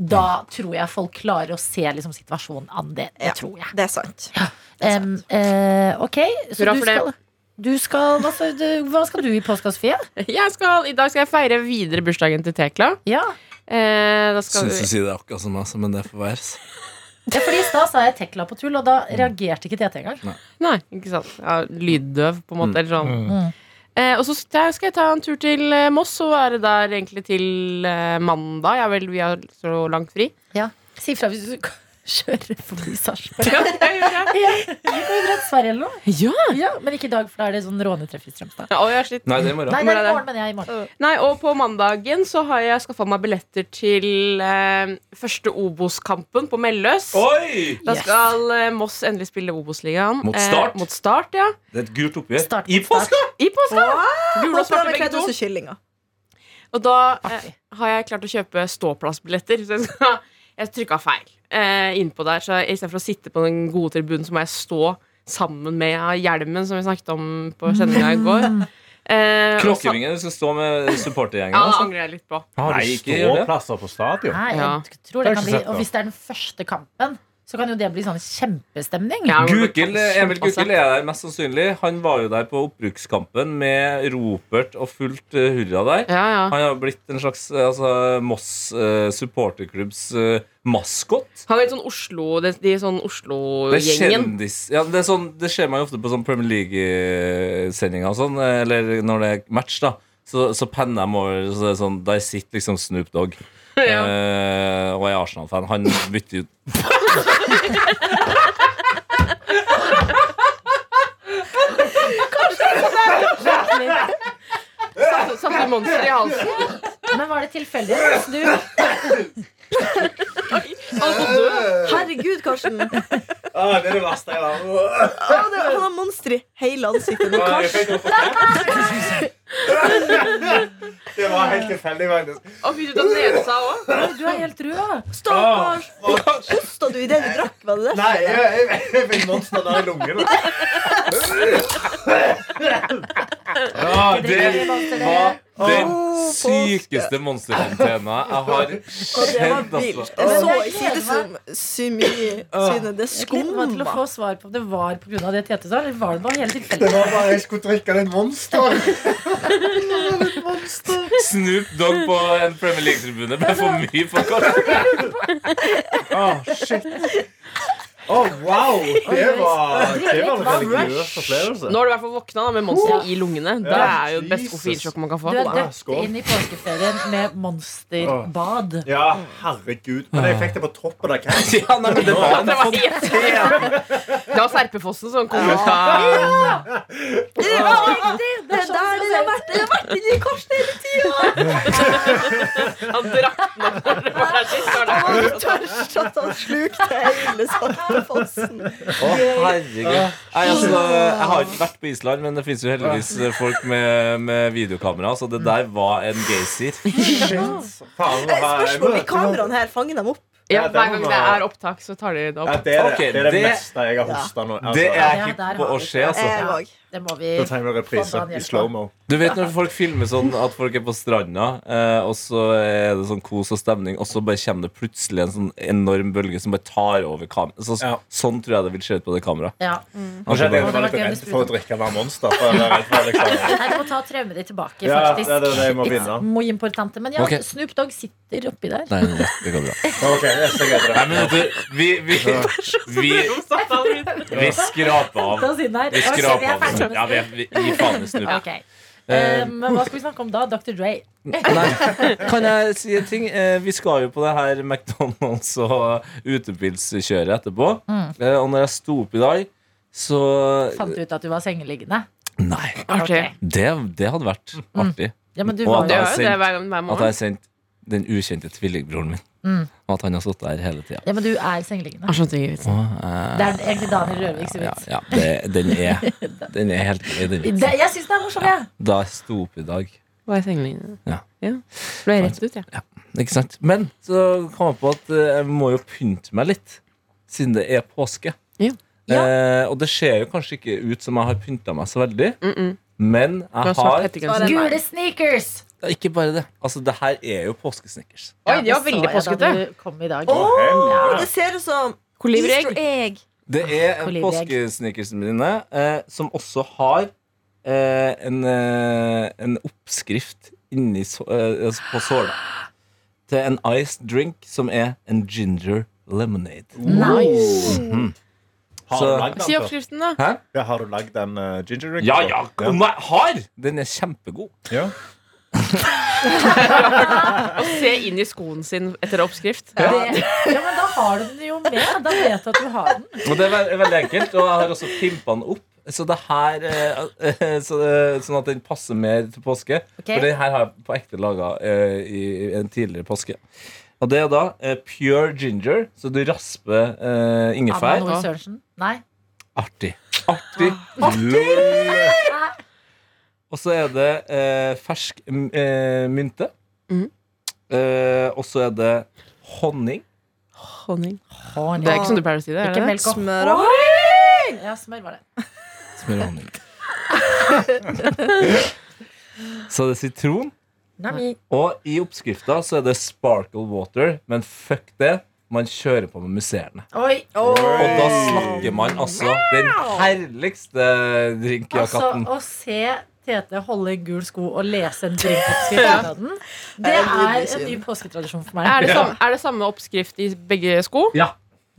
da tror jeg folk klarer å se liksom, situasjonen an. Det, det
Ja.
tror jeg.
Det er sant.
Em, eh, ok, så
Hurra
du
for det.
skal, du skal hva, skal du, hva skal du i påska, Sofie?
Jeg skal, I dag skal jeg feire videre bursdagen til Tekla.
Ja,
Eh, da skal vi,
sier det akkurat som meg, men det får være.
ja fordi I stad sa jeg Tekla på tull, og da reagerte ikke Tete engang.
nei, ikke sant. Ja, lyddøv, på en måte. Eller sånn. Eh, og så skal skal jeg ta en tur til eh, Moss og være der egentlig til eh, mandag. Jeg er vel, vi har så langt fri.
Ja. Si fra hvis du kjører forbi Sarpsborg.
Ja, jeg gjør det.
Ja, vi kan jo dra til Sverige eller noe.
Ja.
Ja, men ikke i dag, for da er det sånn rånetreff i Strømstad.
Å, jeg er slitt.
Nei, det er i morgen.
Nei, det er i morgen, mener jeg. i morgen
Nei, og på mandagen så har jeg skaffa meg billetter til eh, første Obos-kampen på Melløs.
Oi!
Da
Yes.
skal eh, Moss endelig spille Obos-ligaen. eh,
Mot Start.
mot start, ja.
Det er et gult oppgjør.
Start på
I påska!
I påska! Gule og
Og så har
svarte
vi
begge
kledd
to.
oss i kyllinger.
Og da eh, har jeg klart å kjøpe ståplassbilletter. Så jeg, skal- jeg trykka feil eh, innpå der. Så istedenfor å sitte på den gode tribunen, så må jeg stå sammen med hjelmen, som vi snakket om på sendinga i går. Eh, og så-
Klokkevingen, du skal stå med supportergjengen.
Ja, det
Altså.
angrer jeg litt på.
Har
Nei,
du
ikke gjør det.
ståplasser på stadion?
Nei,
Ja.
jeg tror det
Det har
kan
jeg
bli
ikke sett, da.
Og hvis det er den første kampen, så kan jo det bli sånn kjempestemning.
Ja, men-
Gukild, eh, Emil Gukild er der mest sannsynlig. Han var jo der på oppbrukskampen med ropert og fullt eh, hurra der.
Ja, ja.
Han har blitt en slags eh, altså, Moss eh, supporterklubbs eh, maskot.
Han er litt sånn Oslo De, de sånn
Det er
Oslo-gjengen.
kjendis ja, det, er sånn, det skjer meg jo ofte på sånn Premier League-sendinger og sånn, eller når det er match, da. Så, så penner de over så det er sånn, Der sitter liksom Snoop Dogg
Ja.
eh, og er Arsenal-fan. Han bytter ut
Satt- Satt du monster i halsen?
Men var det tilfeldig? at Du,
Altså, død.
Herregud, Karsten. Å,
det er det verste jeg har.
det, han har monster i hele ansiktet. Nå, Karsten.
Det var helt tilfeldig, faktisk.
Og fikk du tatt nesa òg?
du er helt rød.
Stakkars. Hosta du idet du drakk? Var det det?
Nei, jeg, jeg, jeg fikk monster der i lungene.
ja,
Drikker Monster, dere.
Den
Åh,
sykeste monsterfontena jeg har
Og det var
kjent.
vilt. Jeg så
Altså.
Men jeg
i
gleder
sidesum symi- synet. Det
Jeg gleder meg til å
skumma.
få svar på om det var pga. det Tete sa, eller var det bare helt
Det
tilfeldig?
var bare jeg skulle drikke den monsteren.
Snoop Dogg på en Premier League-tribune ble for mye for kort.
Åh, shit. Å, wow! Det var, det var en religiøs opplevelse.
Nå har du i hvert fall våkna da, med monster i lungene. Det
Ja.
er jo det beste
Jesus.
koffeinsjokk man kan
Du
få.
er
Wow,
døpt
skål.
inn i påskeferien med monsterbad.
Ja, herregud. Men jeg fikk det på toppen av kvelden.
Ja, nei, men det var en
Det var, helt- det var Serpefossen som kom ut av
Det
Det
er
er
sånn det
der det har
ser ut.
vært. Det har vært inni Karsten hele tiden.
Han drakk den opp når det var der sist. var det?
Han var tørst at han slukte hele saltefossen.
Å, herregud. Nei, altså, jeg har ikke vært på Island, men det fins jo heldigvis folk med, med videokamera, så det der var en gaysir.
Shit. Faen, det var- jeg
Spørsmålet
møter
om kameraene her fanger dem opp.
Ja, hver gang det er opptak, så tar de det
Ja,
opp.
det er det,
Ok,
det, er det,
det-
meste jeg har hosta nå. Altså,
Det er
Ja,
jeg
der
hypp
har
på å
vi Eh.
se, altså.
Jeg òg.
Det må vi
Da trenger vi reprise i slow-mo.
Du vet når folk filmer sånn at folk er på stranda, eh, og så er det sånn kos og stemning, og så bare kommer det plutselig en sånn enorm bølge som bare tar over kameraet. Så,
Ja.
Sånn tror jeg det vil se ut på det kameraet.
ja.
Nå
Det
skjedde jeg at jeg var
hadde vært
litt redd
gøy
for
hvis
å drikke hver monster. For jeg var redd for liksom.
Nei, du må ta traumet ditt tilbake,
Ja,
faktisk.
det er det jeg må
It's
vinne.
Muy importante. Men ja,
Ok.
Snoop Dogg sitter oppi der.
Nei, nei, det går bra.
Ok, jeg er så redd for
Nei,
det.
men vet du, vi, vi, vi, vi skraper av.
Ta siden her.
Vi
Ok,
skraper
vi er
av.
ferdig med
Ja, vi, vi gi faen i snudd.
Snoop. Ok. Eh, men hva skal vi snakke om da? Dr. Dre.
Nei, kan jeg si en ting? Eh, Vi skal jo på det her McDonald's og utepilskjøret etterpå.
Mm.
Eh, Og når jeg sto opp i dag, så
Fant du ut at du var sengeliggende?
Nei.
Artig.
Ok.
Det, det hadde vært artig.
Ja, men du
Og
var
at
Det
jo
gjør jo det hver gang hver
At jeg
morgen.
sendte den ukjente tvillingbroren min.
Mm.
Og at han har sittet her hele tida.
Ja, men du er sengeliggende. Det er egentlig Daniel Rørviks
ja,
vits.
ja, det, den, er, den er helt grei, den vitsen.
Det- Jeg syns det er morsomt, jeg.
Da jeg sto opp i dag.
Hva er sengelinjen?
Ja.
Ble jeg rett ut, jeg.
Ikke sant? Men så kom jeg på at eh, jeg må jo pynte meg litt, siden det er påske.
Ja.
Ja.
Eh, og det ser jo kanskje ikke ut som jeg har pynta meg så veldig, men
Du har
jeg
svart
har
hettegenser.
Gule sneakers.
Ja, Ikke bare det. Altså, det her er jo påskesnickers.
Oi, de var
så
veldig
jeg da
påskete.
du kom i dag.
Åh, det ser ut som
Kolibriegg.
Easter egg.
Det
Ah,
er en
Kolibri.
påskesnickers mine eh, som også har eh, en, eh, en oppskrift inni så, eh, altså på såla. Til en iced drink som er en ginger lemonade.
Nice.
Har du
Så-
lagd
Si
den før?
oppskriften, da.
Hæ?
Ja, Har du lagd den eh, ginger drink?
Ja,
før?
ja, om jeg har! Den er kjempegod.
Ja.
Se inn i skoen sin etter oppskrift.
Det, ja, men da har du den jo med. Da vet du at du har den.
Og det er ve- veldig enkelt, og jeg har også pimpa den opp. Så det her eh, eh, så, eh, Sånn at den passer mer til påske.
Ok.
For den her har jeg på ekte laga i en tidligere påske. Og det er da eh, pure ginger, så du rasper eh,
Anna
ingefær.
Nore Sørensen. Nei.
Artig. Artig! Lol. Og så er det eh, fersk mm, eh, mynte.
Mhm.
Eh, og så er det honning.
Honning. Det er ikke sånn du pleier å si det? Er
Ikke
det?
melk og
Smør og
Ja, smør var det.
Smør og honning. så det er sitron.
Nami.
Og i oppskrifta så er det sparkle water, men fuck det. Man kjører på med musserende.
Oi.
Og da snakker man altså den herligste drink av
Altså,
katten.
å se Tete holde en gul sko og lese en drinkoppskrift av den, det er en ny påsketradisjon for
Er,
meg.
det samme, er det samme oppskrift i begge sko?
Ja.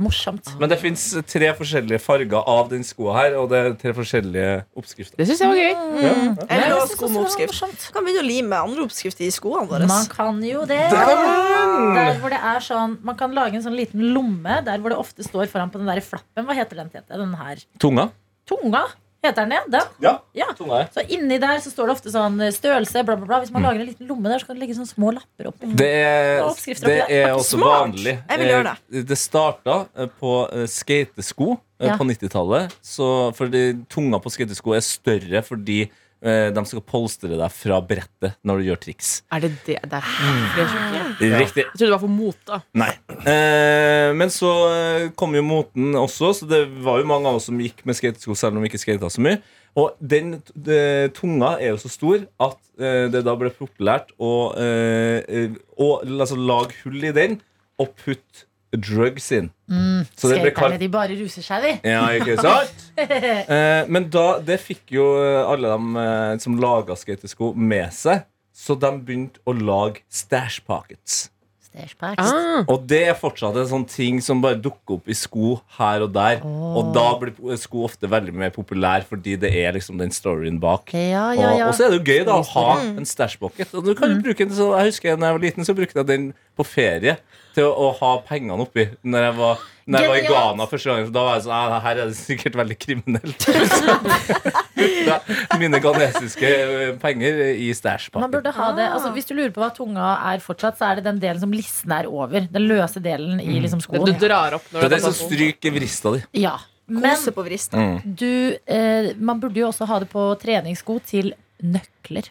Morsomt.
Men det fins tre forskjellige farger av den skoa her, og det er tre forskjellige oppskrifter.
Det syns jeg var gøy.
Jeg vil
Jeg
ha
synes også
sko
det
med
var
oppskrift.
morsomt.
Kan begynne å lime andre oppskrifter i skoene våre.
Man kan jo det. Der hvor det er sånn, Man kan lage en sånn liten lomme der hvor det ofte står foran på den der flappen. Hva heter den, Tete? Den her.
Tunga?
Tunga heter den, ja. Den.
Ja.
Ja.
tunga er.
Så inni der så står det ofte sånn eh, størrelse, bla, bla, bla.
Mm.
Hvis man lager en liten lomme der, så kan det ligge sånne små lapper oppi.
Det er,
Og oppskrifter
det
oppi der.
er også
Smart!
vanlig.
Jeg vil gjøre
Eh, Det starta eh, på eh, skatesko eh,
Ja.
på 90-tallet. så- Fordi tunga på skatesko er større fordi eh, de skal polstre deg fra brettet når du gjør triks.
Er det det? det er, det er sjukt, ja.
Riktig.
jeg trodde det var for mote.
Nei. Eh, men så eh, kom jo moten også, så det var jo mange av oss som gikk med skatesko selv om vi ikke skata så mye. Og den t- de, tunga er jo så stor at eh, det da ble populært å eh, eh, å, altså, lage hull i den og putte drugs inn. så det ble
Skaterne,
kalt
de bare ruser seg, de.
ja, ikke sant? Eh, men da, det fikk jo eh, alle de eh, som laga skatesko, med seg. Så de begynte å lage stash pockets.
Stash packs.
Ah,
Og det er fortsatt en sånn ting som bare dukker opp i sko her og der. Og da blir sko ofte veldig mer populær fordi det er liksom den storyen bak.
Ja, ja, ja. Mm.
Og, og så er det jo gøy da å ha en stashbucket. Og du kan jo bruke den, så jeg husker da jeg var liten, så brukte jeg den på ferie til å, å ha pengene oppi. Når jeg var, når jeg var i
Genialt.
Ghana første gangen, så da var jeg sånn "Ah, Her er det sikkert veldig kriminelt. Så puttet jeg Mine ghanesiske eh, penger i
Man
stashbucket.
burde ha det, altså Hvis du lurer på hva tunga er fortsatt, så er det den delen som listen er over. Den løse delen i liksom
det du
skoen.
drar opp
Det
når
Mm. er
du
den som stryker vrista di.
Ja. Men
Kose på vristen.
du, eh, man burde jo også ha det på treningssko til nøkler.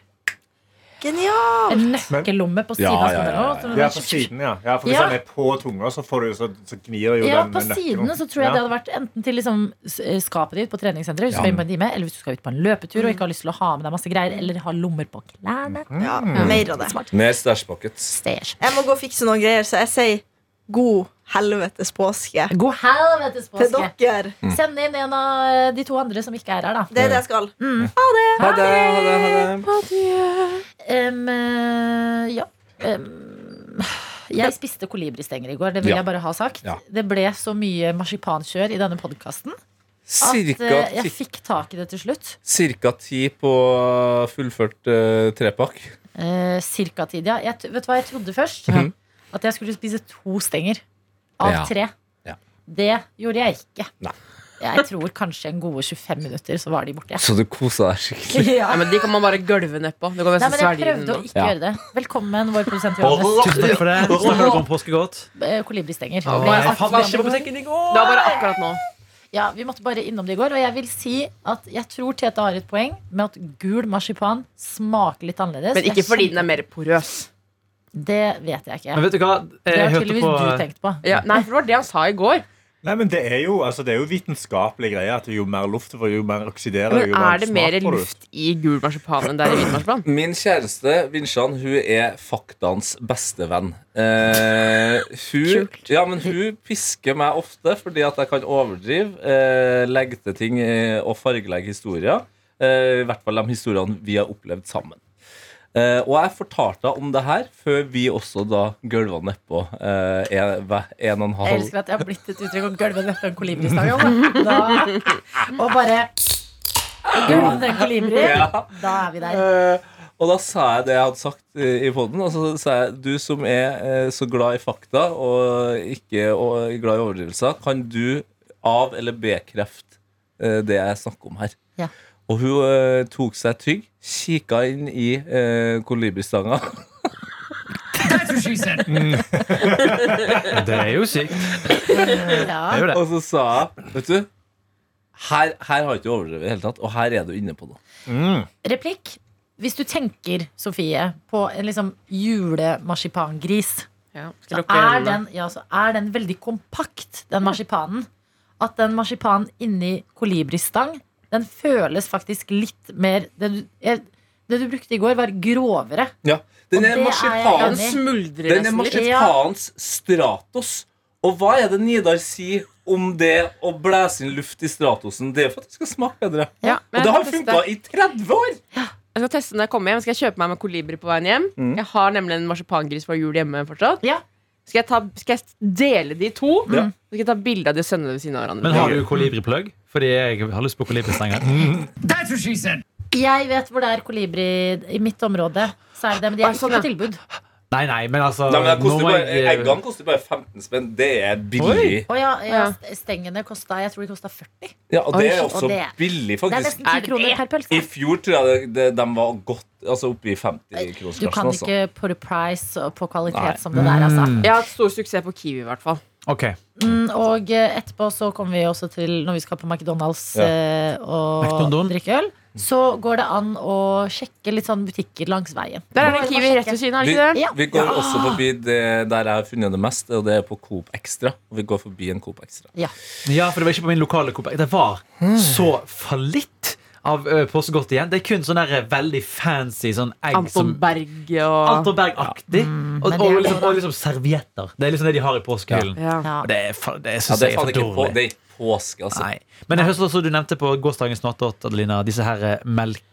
Genial!
En nøkkellomme på siden
Ja,
av
ja, ja,
skoen.
ja, ja.
også, som-
Ja, på siden, ja. ja for hvis
Ja.
den er på tunga, så, får du, så, så gnir jo
Ja,
den
på
nøkkelen.
sidene så tror jeg
Ja.
det hadde vært enten til liksom s- eh, skapet ditt på treningssenteret, hvis du skal inn på en time, eller hvis du skal ut på en løpetur og ikke har lyst til å ha med deg masse greier, eller ha lommer på klærne.
Ja, mer av det.
Mer stashbuckets.
Stash.
Jeg må gå og fikse noen greier, så jeg sier god helvetes påske
God helvetes
til
påske!
dere.
Mm.
Send inn en av eh, de to andre som ikke er her, da.
Det er det jeg skal.
Ha det, ha det, ha det.
Em, eh, ja. Em, jeg spiste kolibristenger i går. Det vil
Ja.
jeg bare ha sagt.
Ja.
Det ble så mye marsipankjør i denne podkasten at
Cirka,
eh, jeg
ti-
fikk tak i det til slutt.
cirka ti på fullført eh, trepakk.
Eh, cirka tid, ja. Jeg, t- vet du hva jeg trodde først? At jeg skulle spise to stenger av
Mhm. Ja.
tre.
Ja.
Det gjorde jeg ikke.
Nei.
Jeg tror kanskje en gode 25 minutter, så var de borte.
Så du kosa deg skikkelig.
Ja.
Nei, men De kan man bare gølve nedpå. Du
Nei,
kan nesten
men jeg
svelge
prøvde å
den.
ikke
Ja.
gjøre det. Velkommen, vår produsent Johannes.
Tusen takk for det. Snakker dere om påskegodt?
Eh, Kolibristenger.
Åh,
Ble
Jeg fant
akkurat-
ikke på butikken i går!
Det var bare akkurat nå.
Ja, Vi måtte bare innom det i går. Og jeg vil si at jeg tror Tete har et poeng med at gul marsipan smaker litt annerledes.
Men ikke
Jeg
fordi
kjenner-
den er mer porøs.
Det vet jeg ikke.
Men vet du hva?
Det
Jeg
har
hørte
tydeligvis
på
du tenkt på.
Ja, nei, for det var det han sa i går.
Nei, men det er jo, altså, det er jo vitenskapelig greie at jo mer luft du får, jo mer oksiderer det,
Men
jo
er det mer
smak får du.
luft i gul marsipan enn det er i hvit marsipan?
Min kjæreste Vinsjan hun er faktaens beste venn. Eh, hun,
Kult.
ja, men hun pisker meg ofte fordi at jeg kan overdrive, eh, legge til ting eh, og fargelegge historier. Eh, I hvert fall de historiene vi har opplevd sammen. Eh, og jeg fortalte henne om det her før vi også da gølva nedpå eh, en, hver- en og en
Jeg
halv
elsker at jeg har blitt et uttrykk om gulvet nedpå en kolibristang. jo. Da- Og bare Gulvet ned en kolibri. Da er vi der.
Eh, og da sa jeg det jeg hadde sagt eh, i poden. Og så sa jeg du som er eh, så glad i fakta og ikke og, glad i overdrivelser, kan du av- eller bekrefte eh, det jeg snakker om her?
Ja.
Og hun eh, tok seg tygg, kikka inn i eh, kolibristanga.
Det er jo sykt. Det
Ja.
er jo det.
Og så sa jeg Vet du, her, her har du ikke overdrevet i det hele tatt, og her er du inne på noe.
Replikk. Hvis du tenker, Sofie, på en liksom julemarsipangris
Ja, skal
så
lukke
er,
øynene.
den, ja, så er den veldig kompakt, den marsipanen. At den marsipanen inni kolibristang, den føles faktisk litt mer Det du, jeg, det du brukte i går, var grovere. Og
Den
det
er
er jeg
marsipanens
Den smuldrer
Den er
nesten litt.
marsipanens stratos. Og hva er det Nidar sier om det å blæse inn luft i stratosen? Det er for at det skal smake bedre.
Ja,
Og
men
det har
jeg skal
funka
teste.
i 30 år!
Jeg skal teste når jeg kommer hjem. Skal jeg kjøpe meg med kolibri på veien hjem?
Mm.
Jeg har nemlig en marsipangris fra jul hjemme fortsatt.
Ja.
Skal, jeg ta, skal jeg dele de to?
Ja.
Så skal jeg ta bilde av de og sende det ved siden av hverandre.
Men har du kolibriplugg? Fordi jeg har lyst på kolibristenger.
Jeg vet hvor det er kolibri i mitt område. Så er det det, men de er
Oi, sånn,
ikke på tilbud.
Nei, nei, men altså
Nei, men det
nå
koster
må
bare,
jeg-
Eggene koster bare 15 spenn. Det er billig.
Å ja, ja,
Ja.
stengene kosta Jeg tror de kosta 40.
Ja, og
Oi,
det er
shit,
også
og det-
billig,
Det er
faktisk.
nesten 10 kroner per
I
pølse.
fjor tror jeg det, det, de var godt altså oppe i 50-kronersklassen.
Du kan
altså.
ikke put a price og på kvalitet
Nei.
som det der, altså.
Jeg har hatt stor suksess på Kiwi, i hvert fall.
Ok,
Mm, Og eh, etterpå så kommer vi også til Når vi skal på McDonald's
Ja.
eh, og
McDonald's.
drikke øl, så går det an å sjekke litt sånn butikker langs veien.
Der er
Må
det en
bare
Kiwi
sjekke.
rett ved siden av. er
Vi,
det ikke det?
Ja.
vi går også forbi det der jeg har funnet det mest, og det er på Coop Extra. Og vi går forbi en Coop Extra.
Ja, for det var ikke på min lokale Coop. Det var så fallitt av ø, påskegodt igjen. Det er kun sånn der veldig fancy sånn egg
Anton
som
Berg og
Anton Berg-aktig. og,
Mm, men
og,
det er
liksom, og liksom servietter. Det er liksom det de har i påskehyllen.
ja.
Ja.
Og Det, er fa- det
Ja,
syns
det er
jeg er
faen
for
ikke på,
dårlig.
det er ikke påske, altså.
Nei. Men jeg hørte også du nevnte på gårsdagens nattåt, Adelina, disse her eh,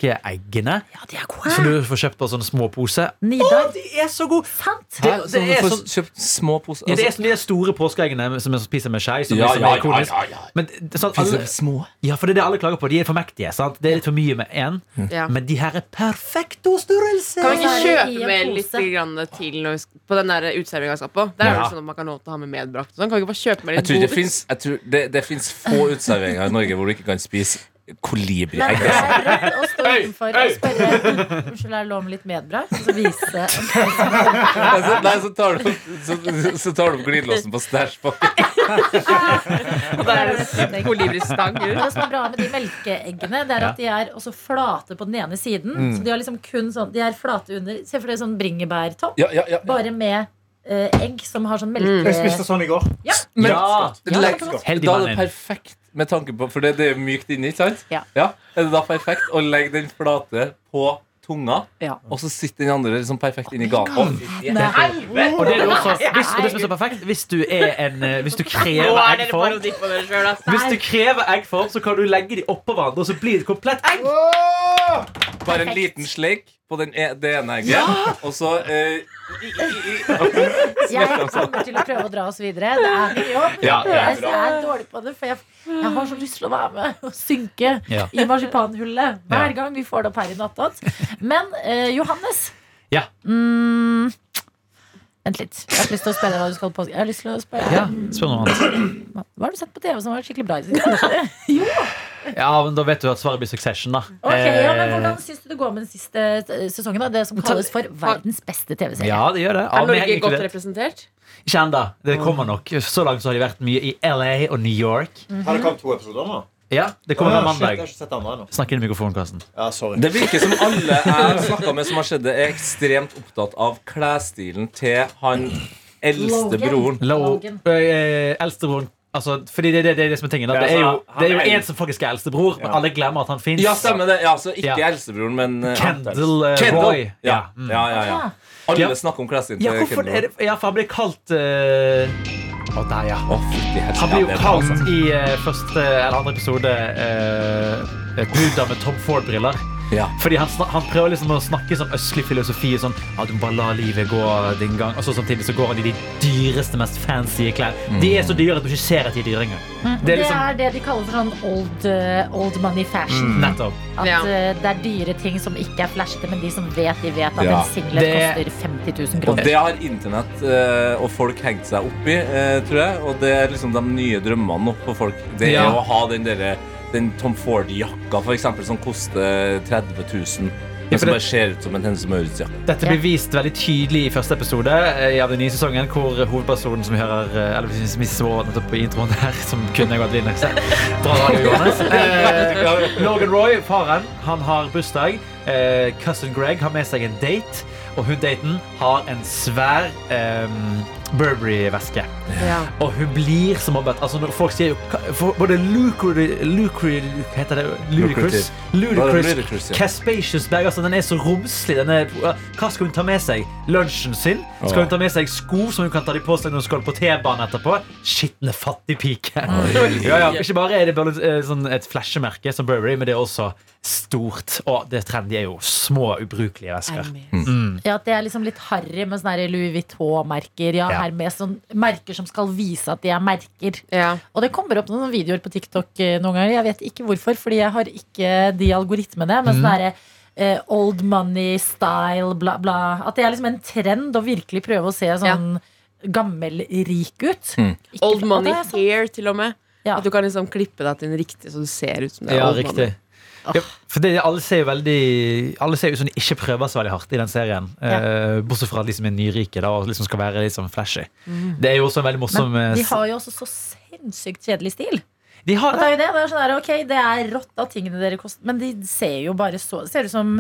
melkeeggene.
ja, de er
Som
gode.
du får kjøpt på sånne små poser.
Nidar.
de er så gode!
Sant?
Det,
Hæ? Så
det
du
er
får
sånn
kjøpt små poser.
ja, det er
Altså,
sånn de store påskeeggene som jeg spiser med skei. som
Ja,
liksom
ja,
er
ja,
ikonisk.
ja, ja.
Men det er sånn,
Finnes
alle,
det små?
ja, for det er det alle klager på. De er for mektige. sant? Det er litt for mye med én.
Mm.
Ja.
Men de her er perfekto størrelse!
Kan vi
Så er det Altså,
ikke
i en
kjøpe med litt
pose.
grann til når vi skal, på den der uteserveringa jeg skal på? Der er det
Ja.
sånn at man kan lov til å ha med medbrakt. og Sånn. Kan vi ikke bare kjøpe med
Jeg
litt
tror det
godis?
finnes, jeg tror det, det finnes få utserveringer i Norge hvor du ikke kan spise
Men
kolibriegg.
det
altså.
er rødt å stå utenfor og spørre Unnskyld, er det lov med litt medbrakt? Så vise
Så, nei, så tar du opp, så, så tar du opp glidelåsen på stæsjpakken.
Og der er det kolibristang.
Men Det som er bra med de melkeeggene, Det er at de er også flate på den ene siden. Så de, har liksom kun sånn, de er flate under Se for deg sånn bringebærtopp,
Ja, ja, ja.
bare med eh, egg som har sånn
Jeg
eh,
melke...
spiste sånn i går.
Men,
Ja.
legg,
Ja.
Heldig
da er det
mann.
perfekt med tanke på For det, det er mykt inni, ikke sant?
Ja.
Er det da perfekt å legge den flate på tunga,
Ja.
og så sitter den andre liksom perfekt inni gapet?
Og det er jo også, hvis, og det som er så perfekt, hvis du er en eh, Hvis du
Nå
krever
er dere
eggform,
parodi på dere sjøl, ass.
hvis du krever eggform, så kan du legge de oppå hverandre, og så blir det et komplett egg.
Bare en liten sleik på den e det ene egget, og så eh, i, i, i,
Jeg kommer til å prøve å dra oss videre. Det er mye jobb.
Ja, det er
jeg er dårlig på det, for jeg, jeg har så lyst til å være med og synke
Ja.
i marsipanhullet hver
Ja.
gang vi får det opp her i natta. Men eh, Johannes
Ja.
mm, Vent litt. Jeg har lyst til å spille hva du skal på. Jeg har lyst til å spille
Ja, spør noe annet.
Hva har du sett på TV som var skikkelig bra? i siste?
Ja, men Da vet du at svaret blir Succession, da.
Ok, ja, men
Eh,
Hvordan syns du det går med den siste eh, sesongen? da? Det som kalles for verdens beste TV-serie.
ja, det gjør det. Ja,
Er Norge
men jeg er
godt
inkludert.
representert?
Ikke ennå. Det
Mm.
kommer nok. Så langt så har de vært mye i LA og New York.
Har det kommet to episoder nå?
Ja, Det kommer
Å,
på
shit, jeg
mandag.
har ikke sett andre ennå.
Snakk inn i mikrofonen, Karsten.
Ja, sorry.
Det virker som alle jeg har snakka med som har skjedd det, er ekstremt opptatt av klesstilen til han eldste
Logan.
broren.
Lo-
Logan.
eh, Eldstebroren Altså, fordi det, det, det er det som er tingen. Da.
Ja,
Det er jo,
altså, han
det er jo
er
en
eldst.
som faktisk er eldstebror, men
Ja.
alle glemmer at han fins.
Ja, stemmer det. Ja, så ikke
Ja.
eldstebroren, men eh,
Kendall eh,
Kendall.
Roy.
Ja.
Ja. Mm.
Ja, ja, ja.
Ja.
Ja.
Alle snakker om klesstilen
Ja,
til
hvorfor er
Kendall.
det Ja, for han blir kalt eh, Å, der, ja.
Å, fytti helsike.
Han blir jo
Ja, det er bra, altså.
kalt i eh, første eller andre episode eh, et Buddha med Tom Ford-briller.
Ja.
Fordi han, snak- han prøver liksom å snakke sånn østlig filosofi. Sånn, ja, du må bare la livet gå din gang. Og så samtidig så går han i de dyreste, mest fancy klær. De er så dyre at du ikke ser at de er dyre engang.
Mm. Det
liksom-
er det de kaller for sånn old, eh, old money fashion.
Nettopp.
At
Ja.
eh, det er dyre ting som ikke er flashete, men de som vet, de vet at
Ja.
en singlet
Det-
koster 50 000
Og
kroner.
det har internett eh, og folk hengt seg opp i, eh, tror jeg. Og det er liksom de nye drømmene nå for folk. Det er
Ja.
å ha den derre den Tom Ford-jakka, for eksempel, som koster 30 000.
Ja, for
Men som
det-
bare ser ut som en Hennes Maurits-jakke.
Dette blir vist veldig tydelig i første episode eh, av den nye sesongen, hvor hovedpersonen som vi hører eh, Eller hvis vi så nettopp på introen her, som kunne jeg vært Linux, drar av Johannes. Eh, Logan Roy, faren, han har bursdag. Eh, cousin Greg har med seg en date, og hun daten har en svær eh, Burberry-veske.
Ja.
Og hun blir så mobbet. Altså, når folk sier jo ka- for- Både lucri... lucri hva heter det? Ludicrous.
Bare
Ludicrous.
ludicrous, ja.
Caspacious bag. Altså, den er så romslig. Den er, hva skal hun ta med seg? Lunsjen sin? Skal hun ta med seg sko som hun kan ta de på seg når hun skal på T-banen etterpå? Skitne fattigpike. Ja, ja. Ikke bare er det bare eh, sånn et flashemerke som Burberry, men det er også stort. Og det trendy er jo små, ubrukelige vesker.
Ja, at det er liksom litt harry med sånne her Louis Vuitton-merker. Ja,
Ja.
Hermes, sånn merker som skal vise at de er merker.
Ja.
Og det kommer opp noen videoer på TikTok eh, noen ganger. Jeg vet ikke hvorfor, fordi jeg har ikke de algoritmene. Men
Mm.
sånn derre eh, old money style, bla, bla. At det er liksom en trend å virkelig prøve å se sånn gammel rik ut. Ikke-
Old
Og
money
det er sånn-
hair, til og med.
Ja.
At du kan liksom klippe deg til en riktig, så du ser ut som det er
Ja,
old money.
riktig. Ja, for det, alle ser jo veldig Alle ser jo ut som de ikke prøver så veldig hardt i den serien. Eh, bortsett fra at de som er nyrike da, og liksom skal være litt sånn flashy. Det er jo også en veldig morsom
Mm. Men
eh,
de har jo også så sinnssykt kjedelig stil.
de har
At det
det.
er jo det. Det er, sånn der, ok, det er rått av tingene dere koster, men de ser jo bare så Ser ut som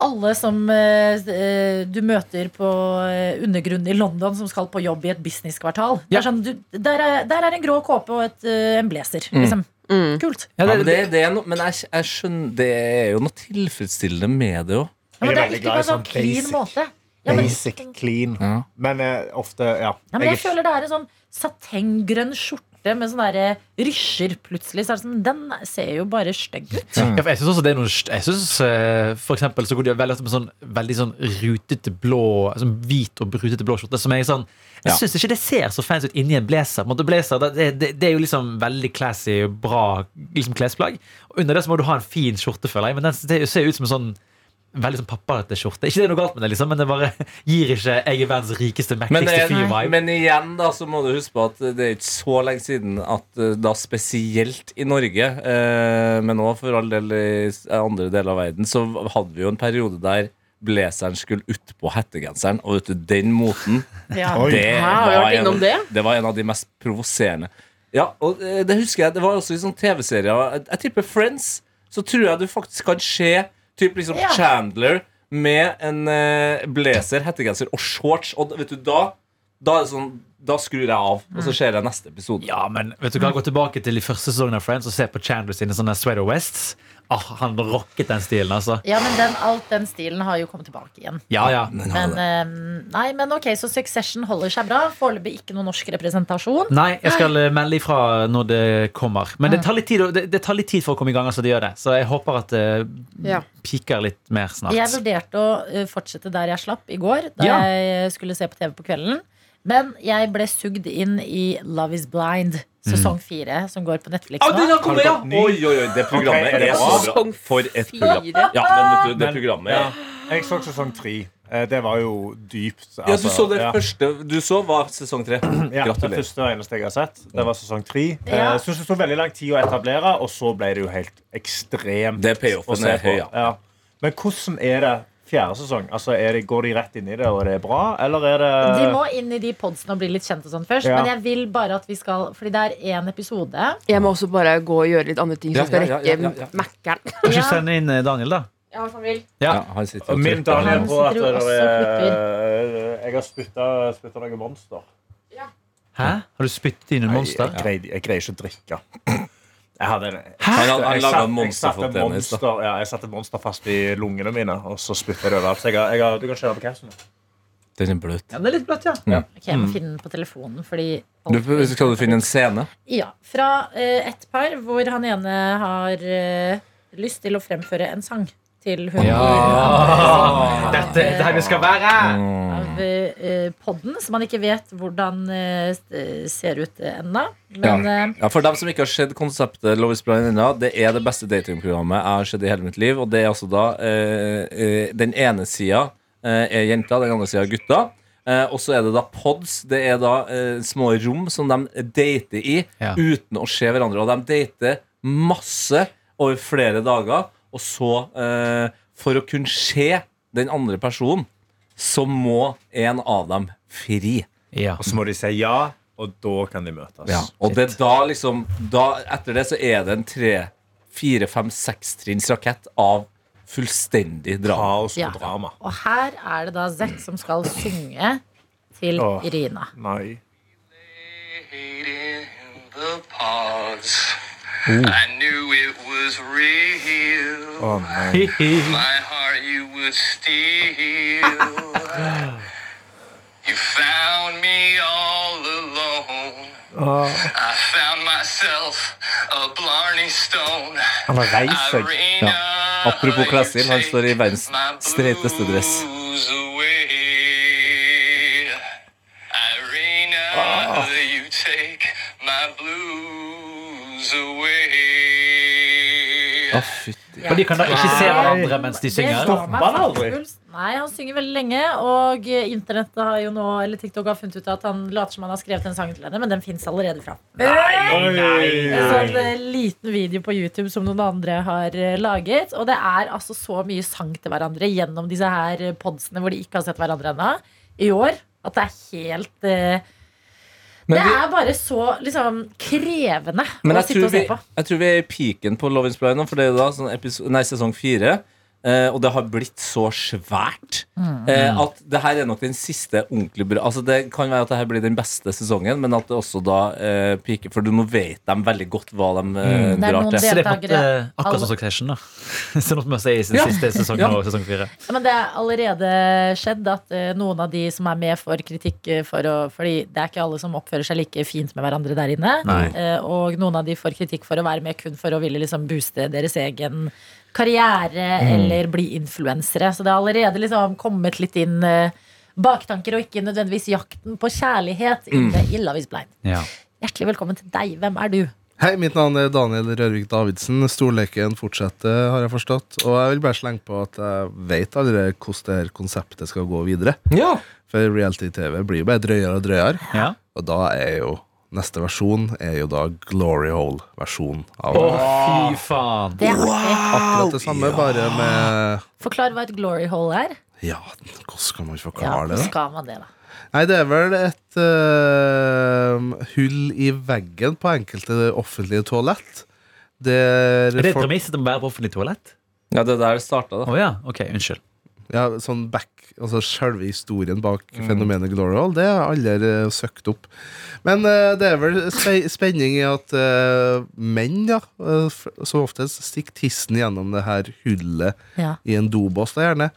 alle som eh, eh, du møter på eh, undergrunnen i London som skal på jobb i et businesskvartal. Det
Ja.
er sånn, du, der, er, der er en grå kåpe og et, eh, en blazer. Liksom. Kult.
Ja,
Ja,
det,
men
det,
det, det er no, men jeg, jeg skjønner, det er jo noe tilfredsstillende med det òg.
Ja, men
Jeg er
det er
veldig
ikke
glad i
på en sånn
sånn
clean
basic.
måte. Ja, men,
Basic, clean. Men eh, ofte, ja.
ja, men jeg
er-
føler det er en sånn satenggrønn skjorte med sånne der, eh, rysjer plutselig. Så er det sånn, den ser jo bare stygg ut.
Mm.
ja, for jeg syns også det er noe st- Jeg synes, eh, For eksempel så går de veldig ofte med sånn veldig sånn rutete blå sånn Hvit og rutete blå skjorte. Som jeg sånn Jeg
Ja.
syns ikke det ser så fancy ut inni en blazer. På en måte, blazer det, det, det, det er jo liksom veldig classy, bra liksom klesplagg. Og under det så må du ha en fin skjorte, føler jeg. Men den ser- ser jo ut som en sånn veldig sånn pappaete skjorte. Ikke det er noe galt med det, liksom, men det bare gir ikke 'Jeg er verdens rikeste,
Men, eh,
mektigste fyr'-vibe.
men igjen da, så må du huske på at det er ikke så lenge siden at eh, da spesielt i Norge, eh, men òg for all del i s- andre deler av verden, så hadde vi jo en periode der blazeren skulle ut på hettegenseren, og vet du, den moten
Oi.
det,
Hæ, har vi vært
en,
innom det?
det var en av de mest provoserende. Ja, og eh, det husker jeg, det var også i sånne TV-serier. Jeg- Jeg tipper Friends. Så tror jeg du faktisk kan se typ liksom
Ja.
Chandler med en eh, blazer, hettegenser og shorts. Og da- vet du, da, da er det sånn Da skrur jeg av, og så ser jeg neste episode.
Ja, men vet du hva, gå tilbake til de første sesongene av Friends og se på Chandler sine sånne Sweater Wests. Ah, han rocket den stilen, altså.
Ja, men den, alt den stilen har jo kommet tilbake igjen.
Ja, ja.
Men, eh, nei, men ok, så Succession holder seg bra. Foreløpig ikke noe norsk representasjon.
Nei, jeg skal eh, melde ifra når det kommer. Men det tar litt tid, å- det, det tar litt tid for å komme i gang, altså det gjør det. Så jeg håper at det
Ja.
piker litt mer snart.
Jeg vurderte å eh, fortsette der jeg slapp i går, da
Ja.
jeg skulle se på TV på kvelden. Men jeg ble sugd inn i Love Is Blind
Mm.
sesong fire, som går på Netflix
den
nå.
har kommet, ja!
Har det kommet ny?
Oi, oi, oi, det programmet
Ok, er det
er
bra?
så bra.
Sesong
For et program.
fire.
Ja, men vet du, det
Men-
programmet
Ja.
er
Jeg så sesong tre. Eh, Eh, Det var jo dypt.
Ja, du
altså,
så det
ja.
første du så, var sesong tre.
Ja, Det
Gratulerer.
første og eneste jeg har sett. Det var sesong tre.
Ja.
Jeg synes det tok veldig lang tid å etablere, og så ble det jo helt ekstremt.
Det payoffen
å se
er
på.
høy, ja.
Men hvordan er det fjerde sesong? Altså, er det, Går de rett inn i det, og det er bra, eller er det
De må inn i de podsene og bli litt kjent og sånn først.
Ja.
Men jeg vil bare at vi skal Fordi det er én episode.
Jeg må også bare gå og gjøre litt andre ting, så
Ja,
jeg skal
ja,
rekke
ja, ja, ja.
Mækkern.
Kanskje
Ja.
send inn eh, Daniel, da.
Ja, hvis han vil.
Ja, han sitter og
Min
trykker.
Daniel
Daniel
på
på
at eh,
sitter jo at det også
Jeg har spytta noe monster.
Hæ? Har du spyttet inn et monster?
Jeg, greide, jeg greier ikke å drikke. Jeg hadde en,
Han, han,
Jeg
han
satt-
laga
jeg
monster
satte
for
en
tennis. Da.
monster- Ja, jeg satte et monster fast i lungene mine, og så spytta det overalt. Så jeg, har- jeg, har- du kan kjøre på capsen.
Den er bløt.
Ja, det er litt bløtt, ja.
Ok,
Mm.
jeg må finne den på telefonen Fordi
Du, skal du finne en scene?
Ja, Fra eh, et par hvor han ene har eh, lyst til å fremføre en sang til hun
Ja. Dette er der vi skal være!
av eh, podden, som han ikke vet hvordan eh, s- ser ut eh, ennå. Men eh,
Ja, For dem som ikke har sett konseptet Love is Blind ennå, det er det beste datingprogrammet jeg har sett i hele mitt liv. Og det er altså da eh, eh, Den ene sida eh, er jenta, den andre sida er gutta. Eh, og så er det da pods. Det er da eh, små rom som de dater i
Ja.
uten å se hverandre. Og de dater masse over flere dager. Og så, eh, for å kunne se den andre personen, så må en av dem fri.
Ja.
Og så må de si ja, og da kan de møtes.
Ja, og det er da liksom da, Etter det så er det en tre, fire, fem, seks trinns rakett av fullstendig drama.
Kaos
Ja.
og drama.
Og her er det da Zack som skal synge til
Åh.
Irina.
Nei.
in the pods. I knew it was real.
Å, nei.
My heart you would steal. you found me all alone.
Oh.
I found myself a Blarney Stone.
Han har reist seg.
Irina,
Apropos klesstil, han står i verdens
my
streiteste dress.
blues away. Irina,
Ah.
you take my blues away.
Å, fytti.
Og de kan da ikke se hverandre mens de
Det
synger.
slår meg
Stopper han
faktisk
aldri?
puls. Nei, han synger veldig lenge, og eh, internettet har jo nå, eller TikTok har funnet ut at han later som han har skrevet en sang til henne, men den fins allerede fra. Så en eh, liten video på YouTube som noen andre har eh, laget. Og det er altså så mye sang til hverandre gjennom disse her eh, podsene hvor de ikke har sett hverandre ennå, i år, at det er helt eh,
Men
Det
vi-
er bare så liksom krevende
Men
å
jeg
sitte
tror,
og
vi,
se på.
jeg tror vi er i piken på Love is Blind nå, for det er da sånn episo- nei, sesong fire. eh, og det har blitt så svært
Mm.
eh, at det her er nok den siste ordentlig bra Altså Det kan være at det her blir den beste sesongen, men at det også da eh, piker. For du nå vet de veldig godt hva de eh,
Mm. Det er
drar
noen
til.
del-
Så det er på en måte
Deltakere.
akkurat som Succession, da. Sånn Som man sier i sin
Ja.
siste sesong
Ja.
og sesong fire.
Ja, Men det er allerede skjedd at eh, noen av de som er med, får kritikk eh, for å Fordi det er ikke alle som oppfører seg like fint med hverandre der inne.
Nei.
Eh, og noen av de får kritikk for å være med kun for å ville liksom booste deres egen karriere
Mm.
eller bli influensere. Så det har allerede liksom kommet litt inn eh, baktanker, og ikke nødvendigvis jakten på kjærlighet
Mm.
inne i Love is blind.
Ja.
Hjertelig velkommen til deg. Hvem er du?
Hei, mitt navn er Daniel Rørvik Davidsen. Storleken fortsetter, har jeg forstått. Og jeg vil bare slenge på at jeg vet allerede hvordan det her konseptet skal gå videre.
Ja.
For reality-TV blir jo bare drøyere og drøyere.
Ja.
Og da er jo neste versjon er jo da Glory Hole-versjonen av
Å, fy faen!
Det er artig.
akkurat det samme, bare med
Forklar hva et glory hole er.
Ja, hvordan skal man
Ja,
forklare det,
hvordan
da?
skal man det, da?
Nei, det er vel et eh, hull i veggen på enkelte offentlige toalett. Der
Er det et
folk-
premiss at det må være på offentlig toalett?
ja, det er der det starta, da.
Å ja, ok, unnskyld.
Ja, sånn back, altså Selve historien bak
Mm.
fenomenet Glory Hall, det har alle eh, søkt opp. Men eh, det er vel spe spenning i at eh, menn, ja, eh, f- som oftest stikker tissen gjennom det her hullet
Ja,
i en dobås, da gjerne.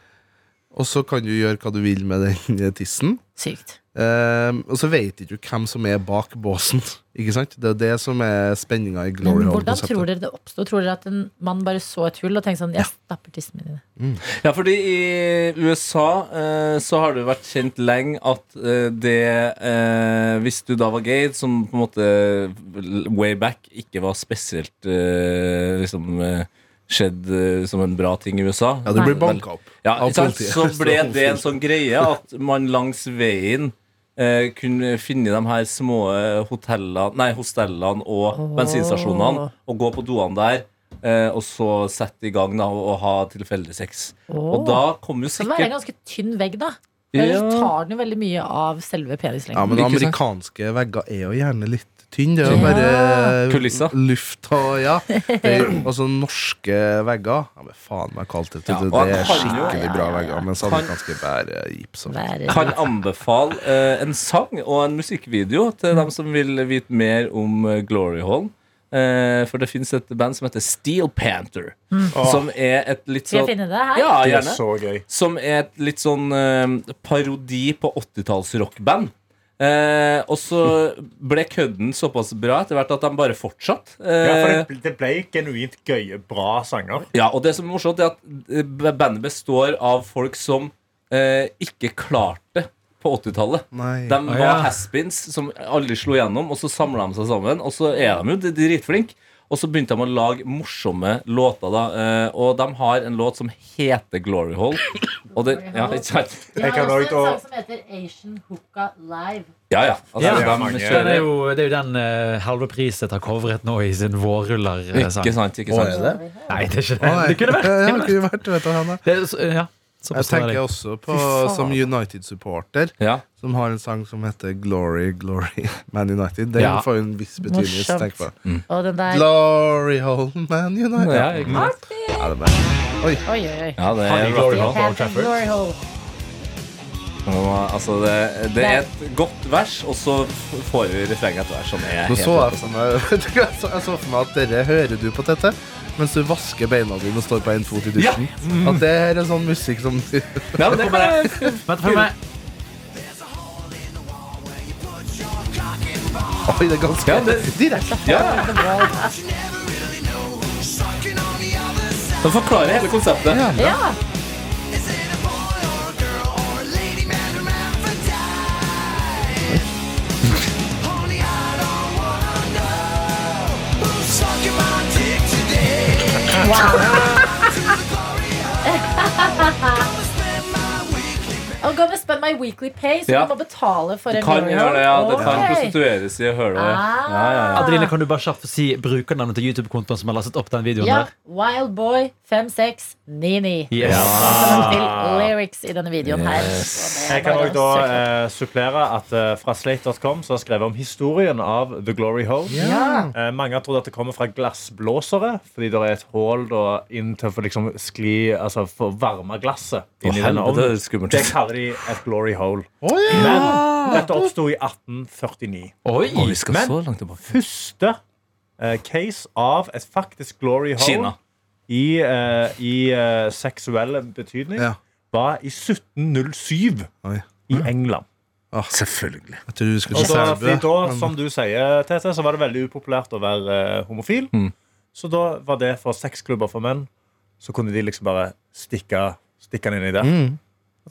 Og så kan du gjøre hva du vil med den eh, tissen.
sykt.
Eh, og så vet ikke du hvem som er bak båsen. Ikke sant? Det er det som er spenninga i Glory
Men hvordan
Hall-konseptet.
tror dere det oppstod? Tror dere at en mann bare så et hull og tenkte sånn Jeg stapper tissen min i det.
Ja, fordi i USA eh, så har det vært kjent lenge at eh, det eh, Hvis du da var gay, som på en måte l- way back ikke var spesielt eh, liksom eh, skjedd eh, som en bra ting i USA.
Ja, du blir banka opp.
Ja, ikke
av
sant?
politiet.
Så ble det en sånn greie at man langs veien eh, kunne finne de her små eh, hotellene, nei, hostellene og bensinstasjonene og gå på doene der. eh, og så sette i gang da, og, og ha tilfeldig sex. Og da kom jo
Så det må være en
sikkert
ganske tynn vegg, da.
Ja.
Ellers tar den jo veldig mye av selve
Ja,
penislengden.
men
Ikke sant?
amerikanske vegger er jo gjerne litt tynne. Det er jo
Ja.
bare
Kulisser.
luft og ja. Det er, altså norske vegger ja, men Faen meg kaldt ute.
Ja,
Det,
og han
det er
kan jo-
skikkelig bra vegger, mens
Han-
amerikanske bærer gips. og-
Være-
kan anbefale eh, en sang og en musikkvideo til dem som vil vite mer om eh, Glory Hall. Eh, for det fins et band som heter Steel Panther. Som er et litt
Mm. Skal jeg
sånn
finne det her?
ja,
Det er
gjerne.
så gøy.
Som er et litt sånn eh, parodi på 80-talls rockband. Eh, og så ble kødden såpass bra etter hvert at de bare fortsatte.
Ja, for
Eh,
det, det ble genuint gøye, bra sanger.
ja, og det som er morsomt, er at eh, bandet består av folk som eh, ikke klarte det på 80-tallet.
Nei.
De var
Å, ja.
haspins som aldri slo gjennom, og så samla de seg sammen. Og så er de jo d- dritflinke. Og så begynte de å lage morsomme låter, da. eh, Og de har en låt som heter Glory Hole. Og den, ja, ikke sant?
De
Jeg
har
kan
også en
også-
sang som heter Asian Hookah Live.
Ja, ja. Altså,
Ja, ja,
de
mange.
Den er
kjører
jo, det er jo den eh, halve pris jeg har covret nå i sin vårruller-sang.
Ikke sant, ikke sant.
det?
Nei, det er ikke det.
Å, nei.
Det kunne vært.
Ja, det kunne vært, vet du, Hanne.
Det er, så- ja, så forstår
Jeg
jeg
tenker
deg.
også på som United-supporter,
Ja.
som har en sang som heter Glory, Glory, Man United. Den
Ja.
får jo en viss betydning. hvis du tenker på det.
Mm.
Og den der
Glory home, Man United.
Ja, ikke sant?
Ja, det er bra.
Oi, oi, oi.
ja, det er
Glory Hole.
Have a glory hole.
Og, Altså, det, det er et godt vers, og så f- får vi refrenget etter hvert som er
Nå
helt
så jeg for meg, jeg så jeg så for meg at dere hører du på dette mens du vasker beina dine og står på én fot i dusjen.
Mm.
At det her er sånn musikk som
Ja, det kommer jeg.
Vent, følg med.
Oi, det er ganske
Ja, det-
direkte.
Ja. Den forklarer hele konseptet.
Ja, I'm gonna spend my weekly pay, så
Ja.
du må betale for en
Kan
glory
gjøre
hole.
det, ja. Det kan
Ok.
prostitueres i å høre det.
Ah.
Ja, ja, ja.
Adeline, kan du bare kjapt si brukernavnet til YouTube-kontoen som har lastet opp den videoen
Ja,
der?
Wild Boy 5699.
Yes.
Velkommen til lyrics i denne videoen her. Så det er
Jeg kan
bare
også da
å søke opp.
eh, supplere at eh, fra slate.com så har jeg skrevet om historien av The Glory Hole. Eh, mange har trodd at det kommer fra glassblåsere, fordi det er et hull da, inn til å få liksom skli, altså få varme glasset
Å,
inn i denne
helvete, det
ovnen.
er skummelt.
Det kaller de et glory hole.
Oi, ja.
Men dette oppsto i 1849.
Oi!
Å, vi skal
Men-
så langt tilbake.
Første eh, case av et faktisk glory hole
Kina.
i, eh, i eh, seksuell betydning
Ja.
var i 1707
Oi. Mm.
i England.
Selvfølgelig.
Jeg tror du skulle
Og
si
da, fordi
Sæbø.
da,
men-
som du sier, Tete, så var det veldig upopulært å være eh, homofil. Så da var det for sexklubber for menn. Så kunne de liksom bare stikke, stikke den inn i det.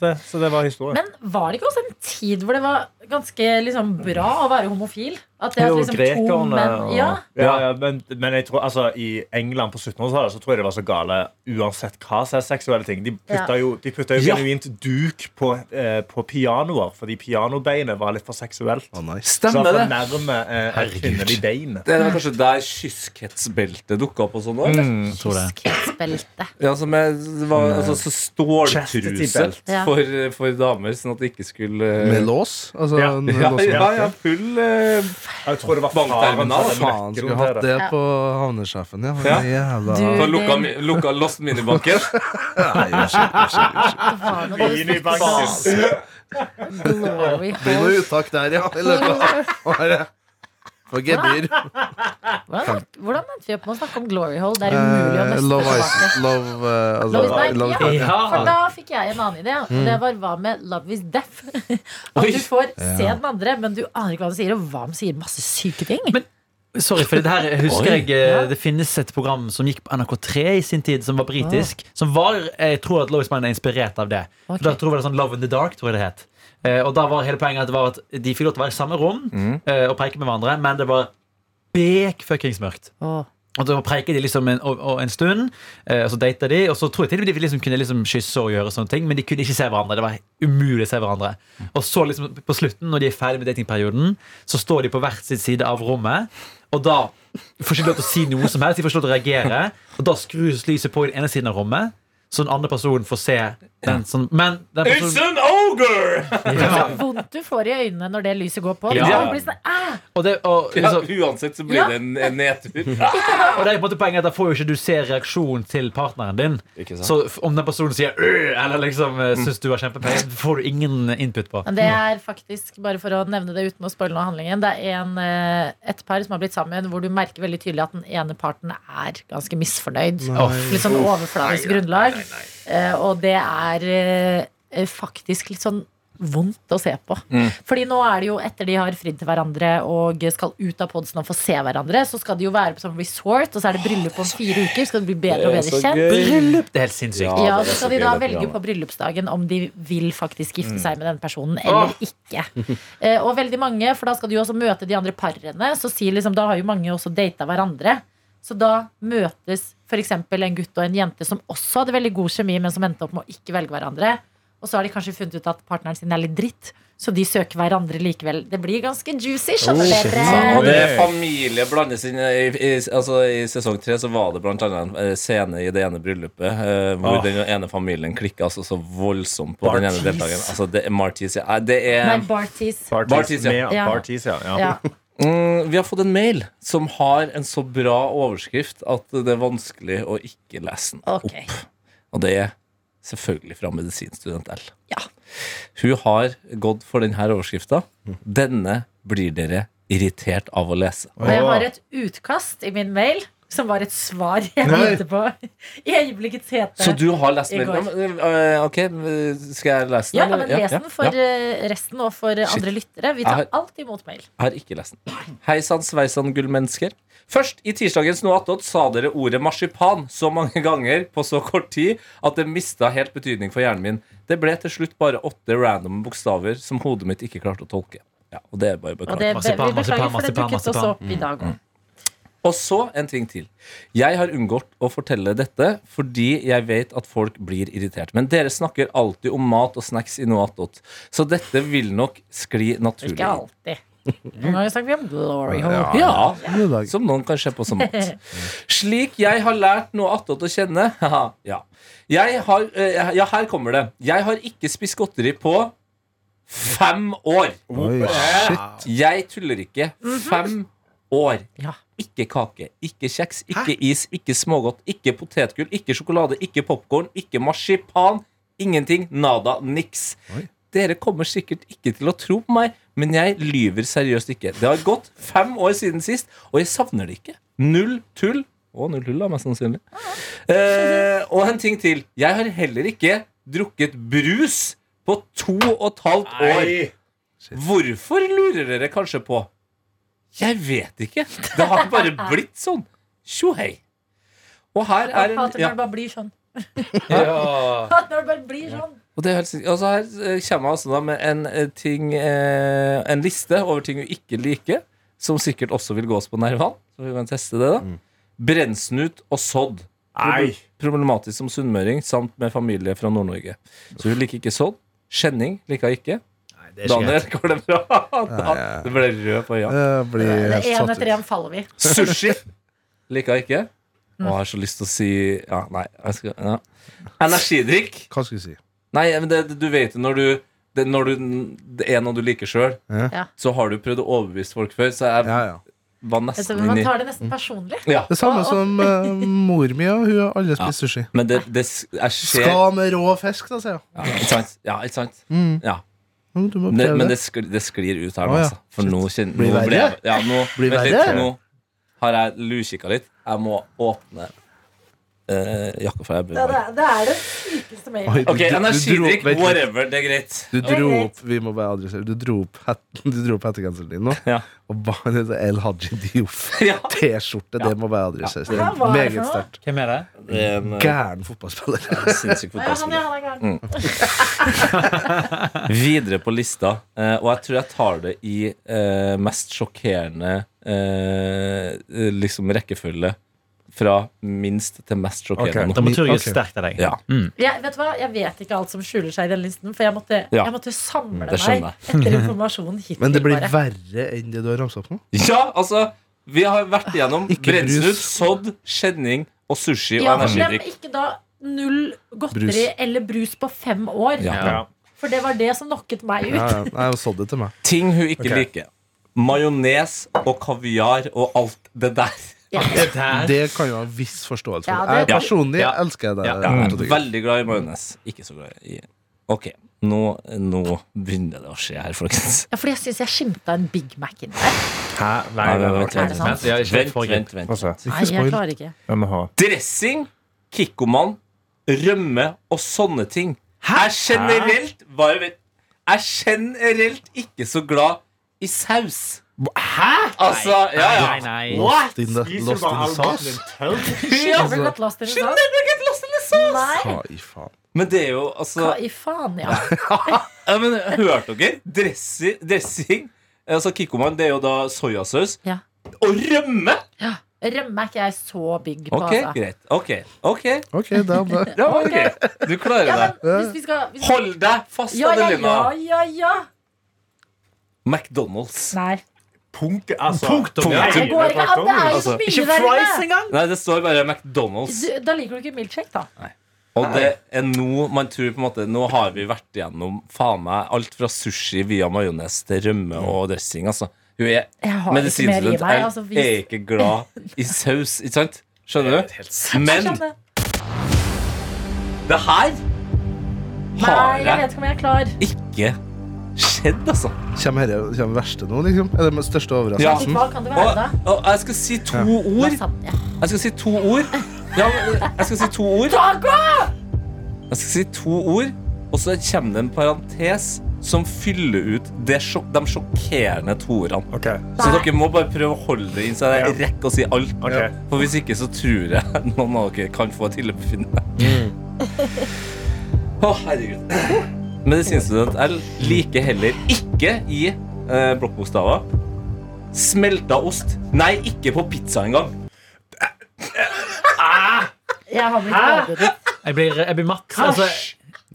Og det. Så det var historien.
Men var det ikke også en tid hvor det var ganske liksom, bra å være homofil? At det
Det
at
var jo
liksom, to menn
og-
ja.
ja, ja, men, men jeg tror, altså, i England på 1700-tallet Så tror jeg det var så gale uansett hva som er seksuelle ting. De putta
Ja.
jo, de putta jo
Ja.
genuint duk på, eh, på pianoer, fordi pianobeinet var litt for seksuelt.
Å, nice.
Så
Stemmer
for
det.
nærme eh, et
Herregud.
kvinnelig bein.
Det var kanskje der kyskhetsbeltet dukka opp og sånn òg?
Jeg Mm, tror det.
Kidsbelte.
Ja, som er, det var altså, så ståltruse
Chastity-belt.
Ja.
for, for damer, sånn at det ikke skulle
Med lås? Altså,
Ja.
en
Ja,
lås
ja, ja, full eh,
Jeg tror det var faren
Bankterminal,
som hadde
Faen, skulle
nøkkelen
hatt
til det.
det på havnesjefen, ja.
Ja.
Jævla
Du-
Så lukka, mi- lukka lost minibanken.
Nei, unnskyld, unnskyld, unnskyld.
Det var noe du
Inn i
snakket om.
banken.
Glory
Det blir noe
hole.
uttak der, ja. I løpet av året. For gebyr.
Hvordan, hvordan endte vi opp med å snakke om glory hole? Det er umulig å
Eh,
nøste
Love
tilbake.
Ice Love, eh, altså,
Love is Blind,
Love-
ja. For
Ja.
da fikk jeg en annen idé. Og det var hva med Love is deaf? At
Oi.
du får se den andre, men du aner ikke hva den sier. Og hva om den sier masse syke ting?
Sorry, for det her husker
Oi.
jeg eh, Det finnes et program som gikk på NRK3 i sin tid, som var britisk. Som var, Jeg tror at Lois Mann er inspirert av det. For Da tror jeg det var sånn Love in the Dark. tror jeg det het Eh, Og da var hele poenget at det var at de fikk lov til å være i samme rom eh, og peke med hverandre, men det var bekfuckings mørkt.
Åh.
Og så preiker de liksom en, og, og en stund, eh, og så dater de. Og så tror jeg til og med de liksom kunne liksom kysse og gjøre sånne ting, men de kunne ikke se hverandre. Det var umulig å se hverandre. Og så liksom på slutten, når de er ferdig med datingperioden, så står de på hvert sitt side av rommet. Og da får ikke de lov til å si noe som helst, de får ikke lov til å reagere. Og da skrus lyset på i den ene siden av rommet, så den andre personen får se den som Men den personen
an ogre!
Så vondt du får i øynene når det lyset går på.
Ja.
Det blir sånn, æ,
Og, det, og,
Ja,
liksom,
uansett så blir
Ja.
det en, en nedtur.
og det er på en måte poenget at da får jo ikke du se reaksjonen til partneren din.
Ikke sant? Mm.
Så f- om den personen sier øh, eller liksom eh, syns du har kjempepenger, får du ingen input på.
Men det er faktisk, bare for å nevne det uten å spoile noe av handlingen, det er en, eh, et par som har blitt sammen hvor du merker veldig tydelig at den ene parten er ganske misfornøyd. På Litt sånn overfladisk grunnlag. Eh, Og det er eh, faktisk litt sånn vondt å se på. Fordi nå er det jo etter de har fridd til hverandre og skal ut av podsen og få se hverandre, så skal de jo være på sånn resort, og så er det bryllup om fire uker. Skal de bli bedre og bedre kjent.
Bryllup! Det er helt sinnssykt.
Ja,
det er
så skal
så
de
gøy,
da
det
velge
programmet.
på bryllupsdagen om de vil faktisk gifte seg med den personen eller ikke. Eh, og veldig mange, for da skal du jo også møte de andre parene, så sier liksom, da har jo mange også data hverandre. Så da møtes f.eks. en gutt og en jente som også hadde veldig god kjemi, men som endte opp med å ikke velge hverandre. Og så har de kanskje funnet ut at partneren sin er litt dritt, så de søker hverandre likevel. Det blir ganske juicy, skjønner
Og
dere? Eh,
det er familie blandes inn i, i, altså, I sesong tre så var det blant annet en eh, scene i det ene bryllupet eh, hvor
Åh.
den ene familien klikka altså, så voldsomt på den ene
Bartis.
deltakeren. Altså, det er Martis, ja. Eh, Det er
Nei, Bartis.
Bartis, ja.
med-
Ja.
Bartis, ja. ja.
Ja.
Mm, Vi har fått en mail som har en så bra overskrift at det er vanskelig å ikke lese den
Ok.
opp. Og det er selvfølgelig fra medisinstudent L.
Ja.
Hun har gått for denne overskrifta. Denne blir dere irritert av å lese.
Og jeg har et utkast i min mail som var et svar jeg begynte på i øyeblikkets hete.
Så du har lest
I
den?
går.
Ja, men, øh, Ok, skal jeg
ja,
lese den?
ja,
eller?
men les den for
ja.
eh, resten og for eh,
Shit.
andre lyttere. Vi
Jeg
tar
har-
alltid imot mail.
Jeg har ikke lest den. Hei sann, sveisann, gullmennesker. Først i tirsdagens Noe attåt sa dere ordet marsipan så mange ganger på så kort tid at det mista helt betydning for hjernen min. Det ble til slutt bare åtte random bokstaver som hodet mitt ikke klarte å tolke. Ja, og det er bare å
Og
beklage.
det,
Marsipan,
vi beklager,
marsipan,
for det
marsipan,
dukket også
marsipan.
opp i dag
Mm,
òg.
Og så en ting til. Jeg har unngått å fortelle dette fordi jeg vet at folk blir irritert. Men dere snakker alltid om mat og snacks i noe attåt, så dette vil nok skli naturlig.
Ikke
inn.
alltid. Noen ganger snakker vi om glory hole.
Ja,
God dag.
som noen kan se på som mat. Slik jeg har lært noe attåt å kjenne Haha, ja. Jeg har, eh, ja, her kommer det. Jeg har ikke spist godteri på fem år.
Oi, shit.
Jeg tuller ikke. Fem år.
Ja.
Ikke kake, ikke kjeks, ikke is, ikke smågodt, ikke potetgull, ikke sjokolade, ikke popkorn, ikke marsipan. Ingenting, nada, niks. Dere kommer sikkert ikke til å tro på meg, men jeg lyver seriøst ikke. Det har gått fem år siden sist, og jeg savner det ikke. Null tull. Og null tull, da, mest sannsynlig. Eh, og en ting til. Jeg har heller ikke drukket brus på to og et halvt år. Hvorfor lurer dere kanskje på? Jeg vet ikke. Det har bare blitt sånn. Tjo hei. Og her er
Jeg
en
hater
ja,
når det bare blir sånn.
Ja.
Når det bare blir sånn.
og det er helt, sikkert- altså Her eh, kommer jeg altså da med en, eh, ting, eh, en liste over ting vi ikke liker, som sikkert også vil gå oss på nervene. Så vi kan teste det, da. Brennsnut og sodd.
Nei.
Problematisk som sunnmøring samt med familie fra Nord-Norge. Så hun liker ikke sodd. Skjenning liker hun ikke. Daniel, går det bra? Da- Du ble rød på øya.
Det blir
Det
helt
Én
satt
etter
ut.
én faller vi.
Sushi liker jeg ikke. Og har så lyst til å si Ja, nei. Jeg skal, ja. Energidrikk.
Hva skal jeg si?
Nei, men det, du vet jo når du det, når du, det er noe du liker sjøl,
Ja.
Ja.
så har du prøvd å overbevise folk før. Så jeg
Ja, ja.
var
Altså,
nesten
Man
inni
tar det nesten personlig.
ja.
Det samme som eh, mor mi, og hun har aldri spist sushi.
Men det, det s- jeg ser ja,
Skal med rå fisk, da, sier jeg.
Ikke sant? Ja, ikke sant?
Mm.
Ja.
Mm, Du må
Det, men
prøve
det,
det.
sklir, det sklir ut her
Å,
nå,
ja.
altså. For nå kjenner
Blir
nå
verre?
ble jeg- Ja, nå,
Blir
vent
verre?
litt, nå har jeg lukikka litt. Jeg må åpne eh, jakka før jeg blir
det er den sykeste
Oi,
mailen.
du-
Ok,
du- du dro-
energidrikk,
vent litt.
whatever, det er greit.
Du dro opp Vi må bare adressere Du dro opp, het, du dro opp hettegenseren din nå.
Ja.
Og bare det El Haji Diouf.
Ja.
T-skjorte, det må bare adresseres. Det
Hva var
er
det for
meget
noe?
sterkt.
Hvem er det?
Det er en eh,
Gæren fotballspiller.
sinnssyk
Ja, han, ja,
fotballspiller.
han er gæren.
Videre på lista, eh, og jeg tror jeg tar det i eh, mest sjokkerende eh, liksom rekkefølge fra minst til mest sjokkerende.
Da må turgen
Ok.
sterkt av deg.
Ja.
Jeg, vet du hva? jeg vet ikke alt som skjuler seg i den listen, for jeg måtte,
Ja.
jeg måtte samle meg
Det skjønner
etter informasjonen hittil.
Men det blir
bare.
verre enn det du har ramsa opp nå.
ja, altså Vi har vært igjennom
Ikke brus.
brennsnut, sodd, skjenning og sushi og
ja, glem
energidrikk.
ikke da null godteri
Brus.
eller brus på fem år.
Ja.
Ja.
For det var det som knocket meg ut.
Ja, ja. Nei, så det til meg.
Ting hun ikke
Ok.
liker. Majones og kaviar og alt det der.
Det der.
Det kan jo ha en viss forståelse
Ja,
for.
det-
Jeg personlig
Ja.
elsker jeg det.
Ja.
Mm.
Veldig glad i majones. Ikke så glad i Ok, nå, nå begynner det å skje her, folkens.
Ja, fordi jeg syns jeg skimta en Big Mac inni der.
Hæ? Nei, nei, nei, ok.
Er det sant?
Ja, ikke
Vent,
for-
vent, vent.
Altså,
Nei, jeg
spoil.
klarer ikke.
jeg må ha.
Dressing, Kikkoman, rømme og sånne ting. Er generelt bare vent, Er generelt ikke så glad i saus. Hæ? Altså, ja, ja.
Nei, nei.
Lost in the, lost in the sauce.
Never got lost in the sauce. Nei,
Hva i faen?
Men det er jo altså
hva i faen, ja.
ja, men, Hørte dere? Dressi, dressing Altså Kikkoman, det er jo da soyasaus.
Ja.
Og rømme!
Rømme er ikke jeg så big på,
Ok,
altså.
greit. Ok, ok,
Ok, da bare
ja, ok Du klarer
Ja,
det.
men hvis vi skal hvis vi...
Hold deg fast,
Ja, ja,
Adelina.
ja, ja, ja.
McDonald's.
Nei.
Punkt, altså.
Punktum.
Nei,
Det går ikke an. Det er jo så
Altså,
mye der inne.
Nei, det står bare McDonald's.
Du- Da liker du ikke milkshake, da.
Og det er nå man tror på en måte Nå har vi vært igjennom faen meg alt fra sushi via majones til rømme og dressing, altså. Hun er
Jeg har ikke mer i
medisinstudent.
meg.
Jeg
Altså, vi...
er ikke glad i saus, ikke sant? Skjønner du?
Jeg
Men
skjønner.
det her
Nei,
har
jeg
jeg
vet ikke om jeg er klar.
ikke skjedd, altså.
Kommer dette kommer verste nå, liksom? Er det den største overraskelsen?
Hva kan det være,
Og,
da?
og jeg skal si to ord.
Lasagne.
Jeg skal si to ord. Ja, men jeg skal si to ord.
Taco!
Jeg skal si to ord, og så kommer det en parentes som fyller ut det sjok de sjokkerende to ordene.
Ok,
Så dere må bare prøve å holde det inn, så jeg rekker å si alt.
ok.
For hvis ikke, så tror jeg noen av dere kan få et illebefinnende. Å, herregud. Medisinstudent L liker heller ikke i eh, blokkbokstaver smelta ost. Nei, ikke på pizza engang.
Jeg har blitt overbudet.
Jeg blir, jeg blir matt. Altså,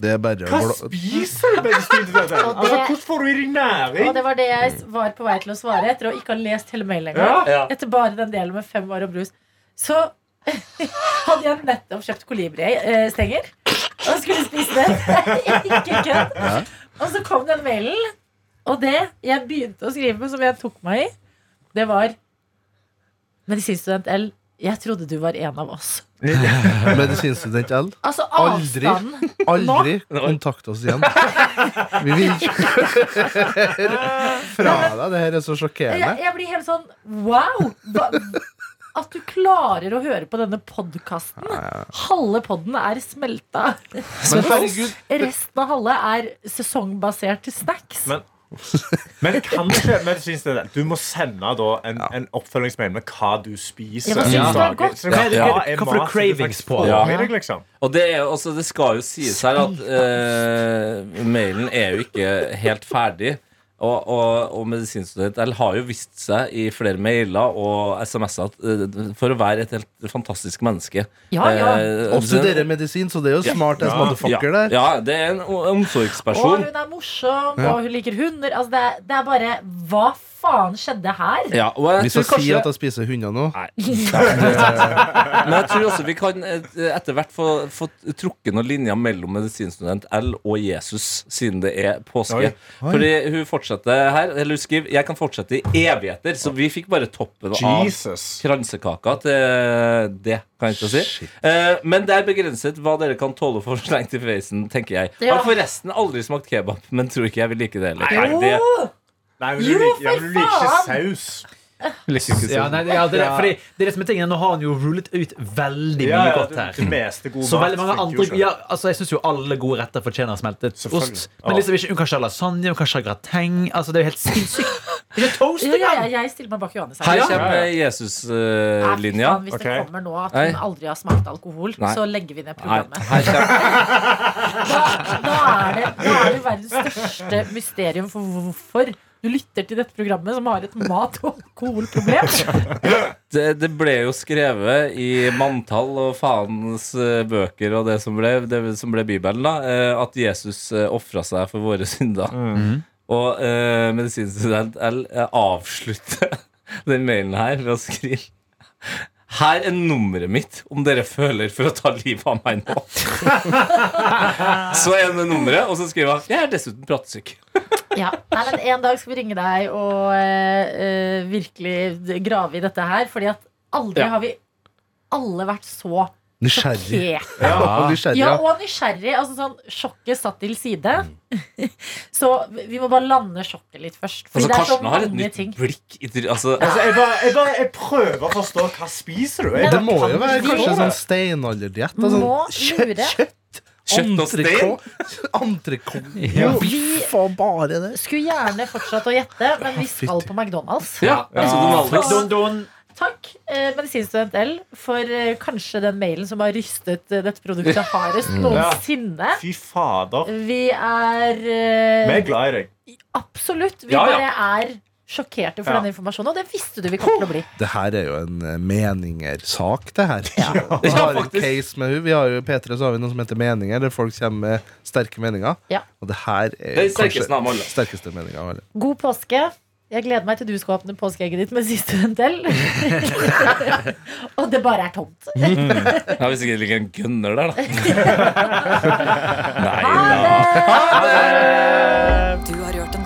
Det er bare
Hva
blå-
spiser du mens du spiser dette?
Og det-
Altså, hvordan får du i deg næring?
Og det var det jeg s- var på vei til å svare etter å ikke ha lest hele mailen engang.
Ja.
Etter bare den delen med fem år og brus. Så hadde jeg nettopp kjøpt kolibristenger og skulle spise det. Ikke kødd. Og så kom den mailen, og det jeg begynte å skrive, som jeg tok meg i, det var Medisinstudent L, jeg trodde du var en av oss.
Medisinstudent L.
Altså
Aldri.
avstanden.
Aldri kontakt oss igjen. Vi vil fra deg. Det her er så
Jeg,
sjokkerende.
jeg blir helt sånn wow! Hva, at du klarer å høre på denne podkasten. Halve podden er smelta.
Men herregud,
Resten av halve er sesongbasert snacks.
Men- Men kan du ikke medisinstudent? Du må sende da en, en oppfølgingsmail med hva du spiser.
Ja, hva synes
Ja.
du er godt?
Så hva er-
Ja.
er
Hva
mat som
får du cravings
faktisk
på?
får
Ja.
i deg, liksom?
Og det, er, jo- altså, det skal jo sies her at eh, mailen er jo ikke helt ferdig. Og, og, og medisinstudent L har jo vist seg i flere mailer og SMS-er at, eh, for å være et helt fantastisk menneske.
Ja, ja.
Eh,
Og studerer medisin, så det er jo smart as
Ja.
motherfucker
ja,
der.
ja, det er en o-
Og
omsorgsperson.
hun er morsom, og hun liker hunder. Altså, det, er, det er bare Hva faen skjedde her?
Ja, og jeg
Hvis
tror
jeg
kanskje-
sier at jeg spiser hunder nå
Men jeg tror også vi kan et- etter hvert få, få trukket noen linjer mellom medisinstudent L og Jesus, siden det er påske.
Oi.
Fordi hun fortsetter her. Eller hun skriver Jeg kan fortsette i evigheter. Så vi fikk bare toppen av
Jesus.
kransekaka til det, kan jeg ikke si. Eh, men det er begrenset hva dere kan tåle for slengt i feisen, tenker jeg.
Ja.
Har forresten aldri smakt kebab, men tror ikke jeg vil like det heller.
Nei,
det,
Nei, men
Jo,
du liker, ja, men du liker ikke
for
saus.
ja, nei, ja, det, er, det. fordi det er det som er tingen. Nå har han jo rullet ut veldig
Ja,
mye
ja,
godt
det,
her.
det meste god
Så
mat
veldig mange
funker jo
andre
ikke.
ja, altså, Jeg syns jo alle gode retter fortjener smeltet
Selvfølgelig.
ost.
Ja.
Men liksom ikke, hun kan ikke ha lasagne, hun kan ikke ha grateng. Altså, det er jo helt sinnssykt. Ikke toast
Ja, ja,
engang!
ja, jeg stiller meg bak Johannes.
Her
Ja.
kommer eh,
Nei, fy
Jesus-linja.
faen, Hvis det
Ok.
kommer nå at
Nei.
hun aldri har smakt alkohol,
Nei.
så legger vi ned
Nei,
programmet.
her kommer
Da, da, er det, da er det verdens største mysterium for hvorfor Du lytter til dette programmet som har et mat- og alkoholproblem.
Det, det ble jo skrevet i manntall og faens eh, bøker og det som ble, det som ble Bibelen, da, eh, at Jesus eh, ofra seg for våre synder. Og eh, medisinstudent L eh, avslutter den mailen her ved å skrive her er nummeret mitt om dere føler for å ta livet av meg nå. så er det nummeret, og så skriver han Jeg er dessuten pratesyk.
Ja. Nei, men en dag skal vi ringe deg og eh, eh, virkelig grave i dette her, fordi at aldri
Ja.
har vi alle vært så
Nysgjerrig.
pek.
Og nysgjerrig,
Ja,
ja.
og nysgjerrig. Altså sånn, sjokket satt til side. så vi vi må bare lande sjokket litt først. Fordi
Altså,
det er så
Karsten har et
mange
nytt
ting.
blikk. I, dri- altså,
Altså, jeg, bare, jeg, bare, jeg prøver å forstå hva spiser du
Det må jo være
Vi
kanskje
må-
en sånn steinalderdiett.
Altså,
da,
Må
Sånn kjøtt,
lure.
kjøtt,
kjøtt og stein.
entrecôte. Entrecôte.
Ja.
Vi
Faen, bare det.
skulle gjerne fortsatt å gjette, men vi skal på McDonald's.
Ja, altså, Donaldus.
Don, Takk, eh, medisinstudent L, for eh, kanskje den mailen som har rystet eh, dette produktet hardest
Mm.
noensinne.
Fy fader.
Vi er
Vi
eh,
er glad i deg.
Absolutt. Vi
Ja, ja.
bare er sjokkerte for
Ja.
denne informasjonen, og det visste du vi kom til å bli.
Det her er jo en eh, meninger-sak, det her. Vi
Ja,
har en
faktisk.
case med hun. Vi har jo i P3 så har vi noe som heter Meninger, der folk kommer med sterke meninger.
Ja.
Og det her er,
Det er sterkeste av alle.
kanskje sterkeste meninga av alle.
God påske. Jeg gleder meg til du skal åpne påskeegget ditt med siste ventell. og det bare er tomt.
Jeg har visst ikke ligger en gunner der, da. Nei,
Ha det!
Du har hørt en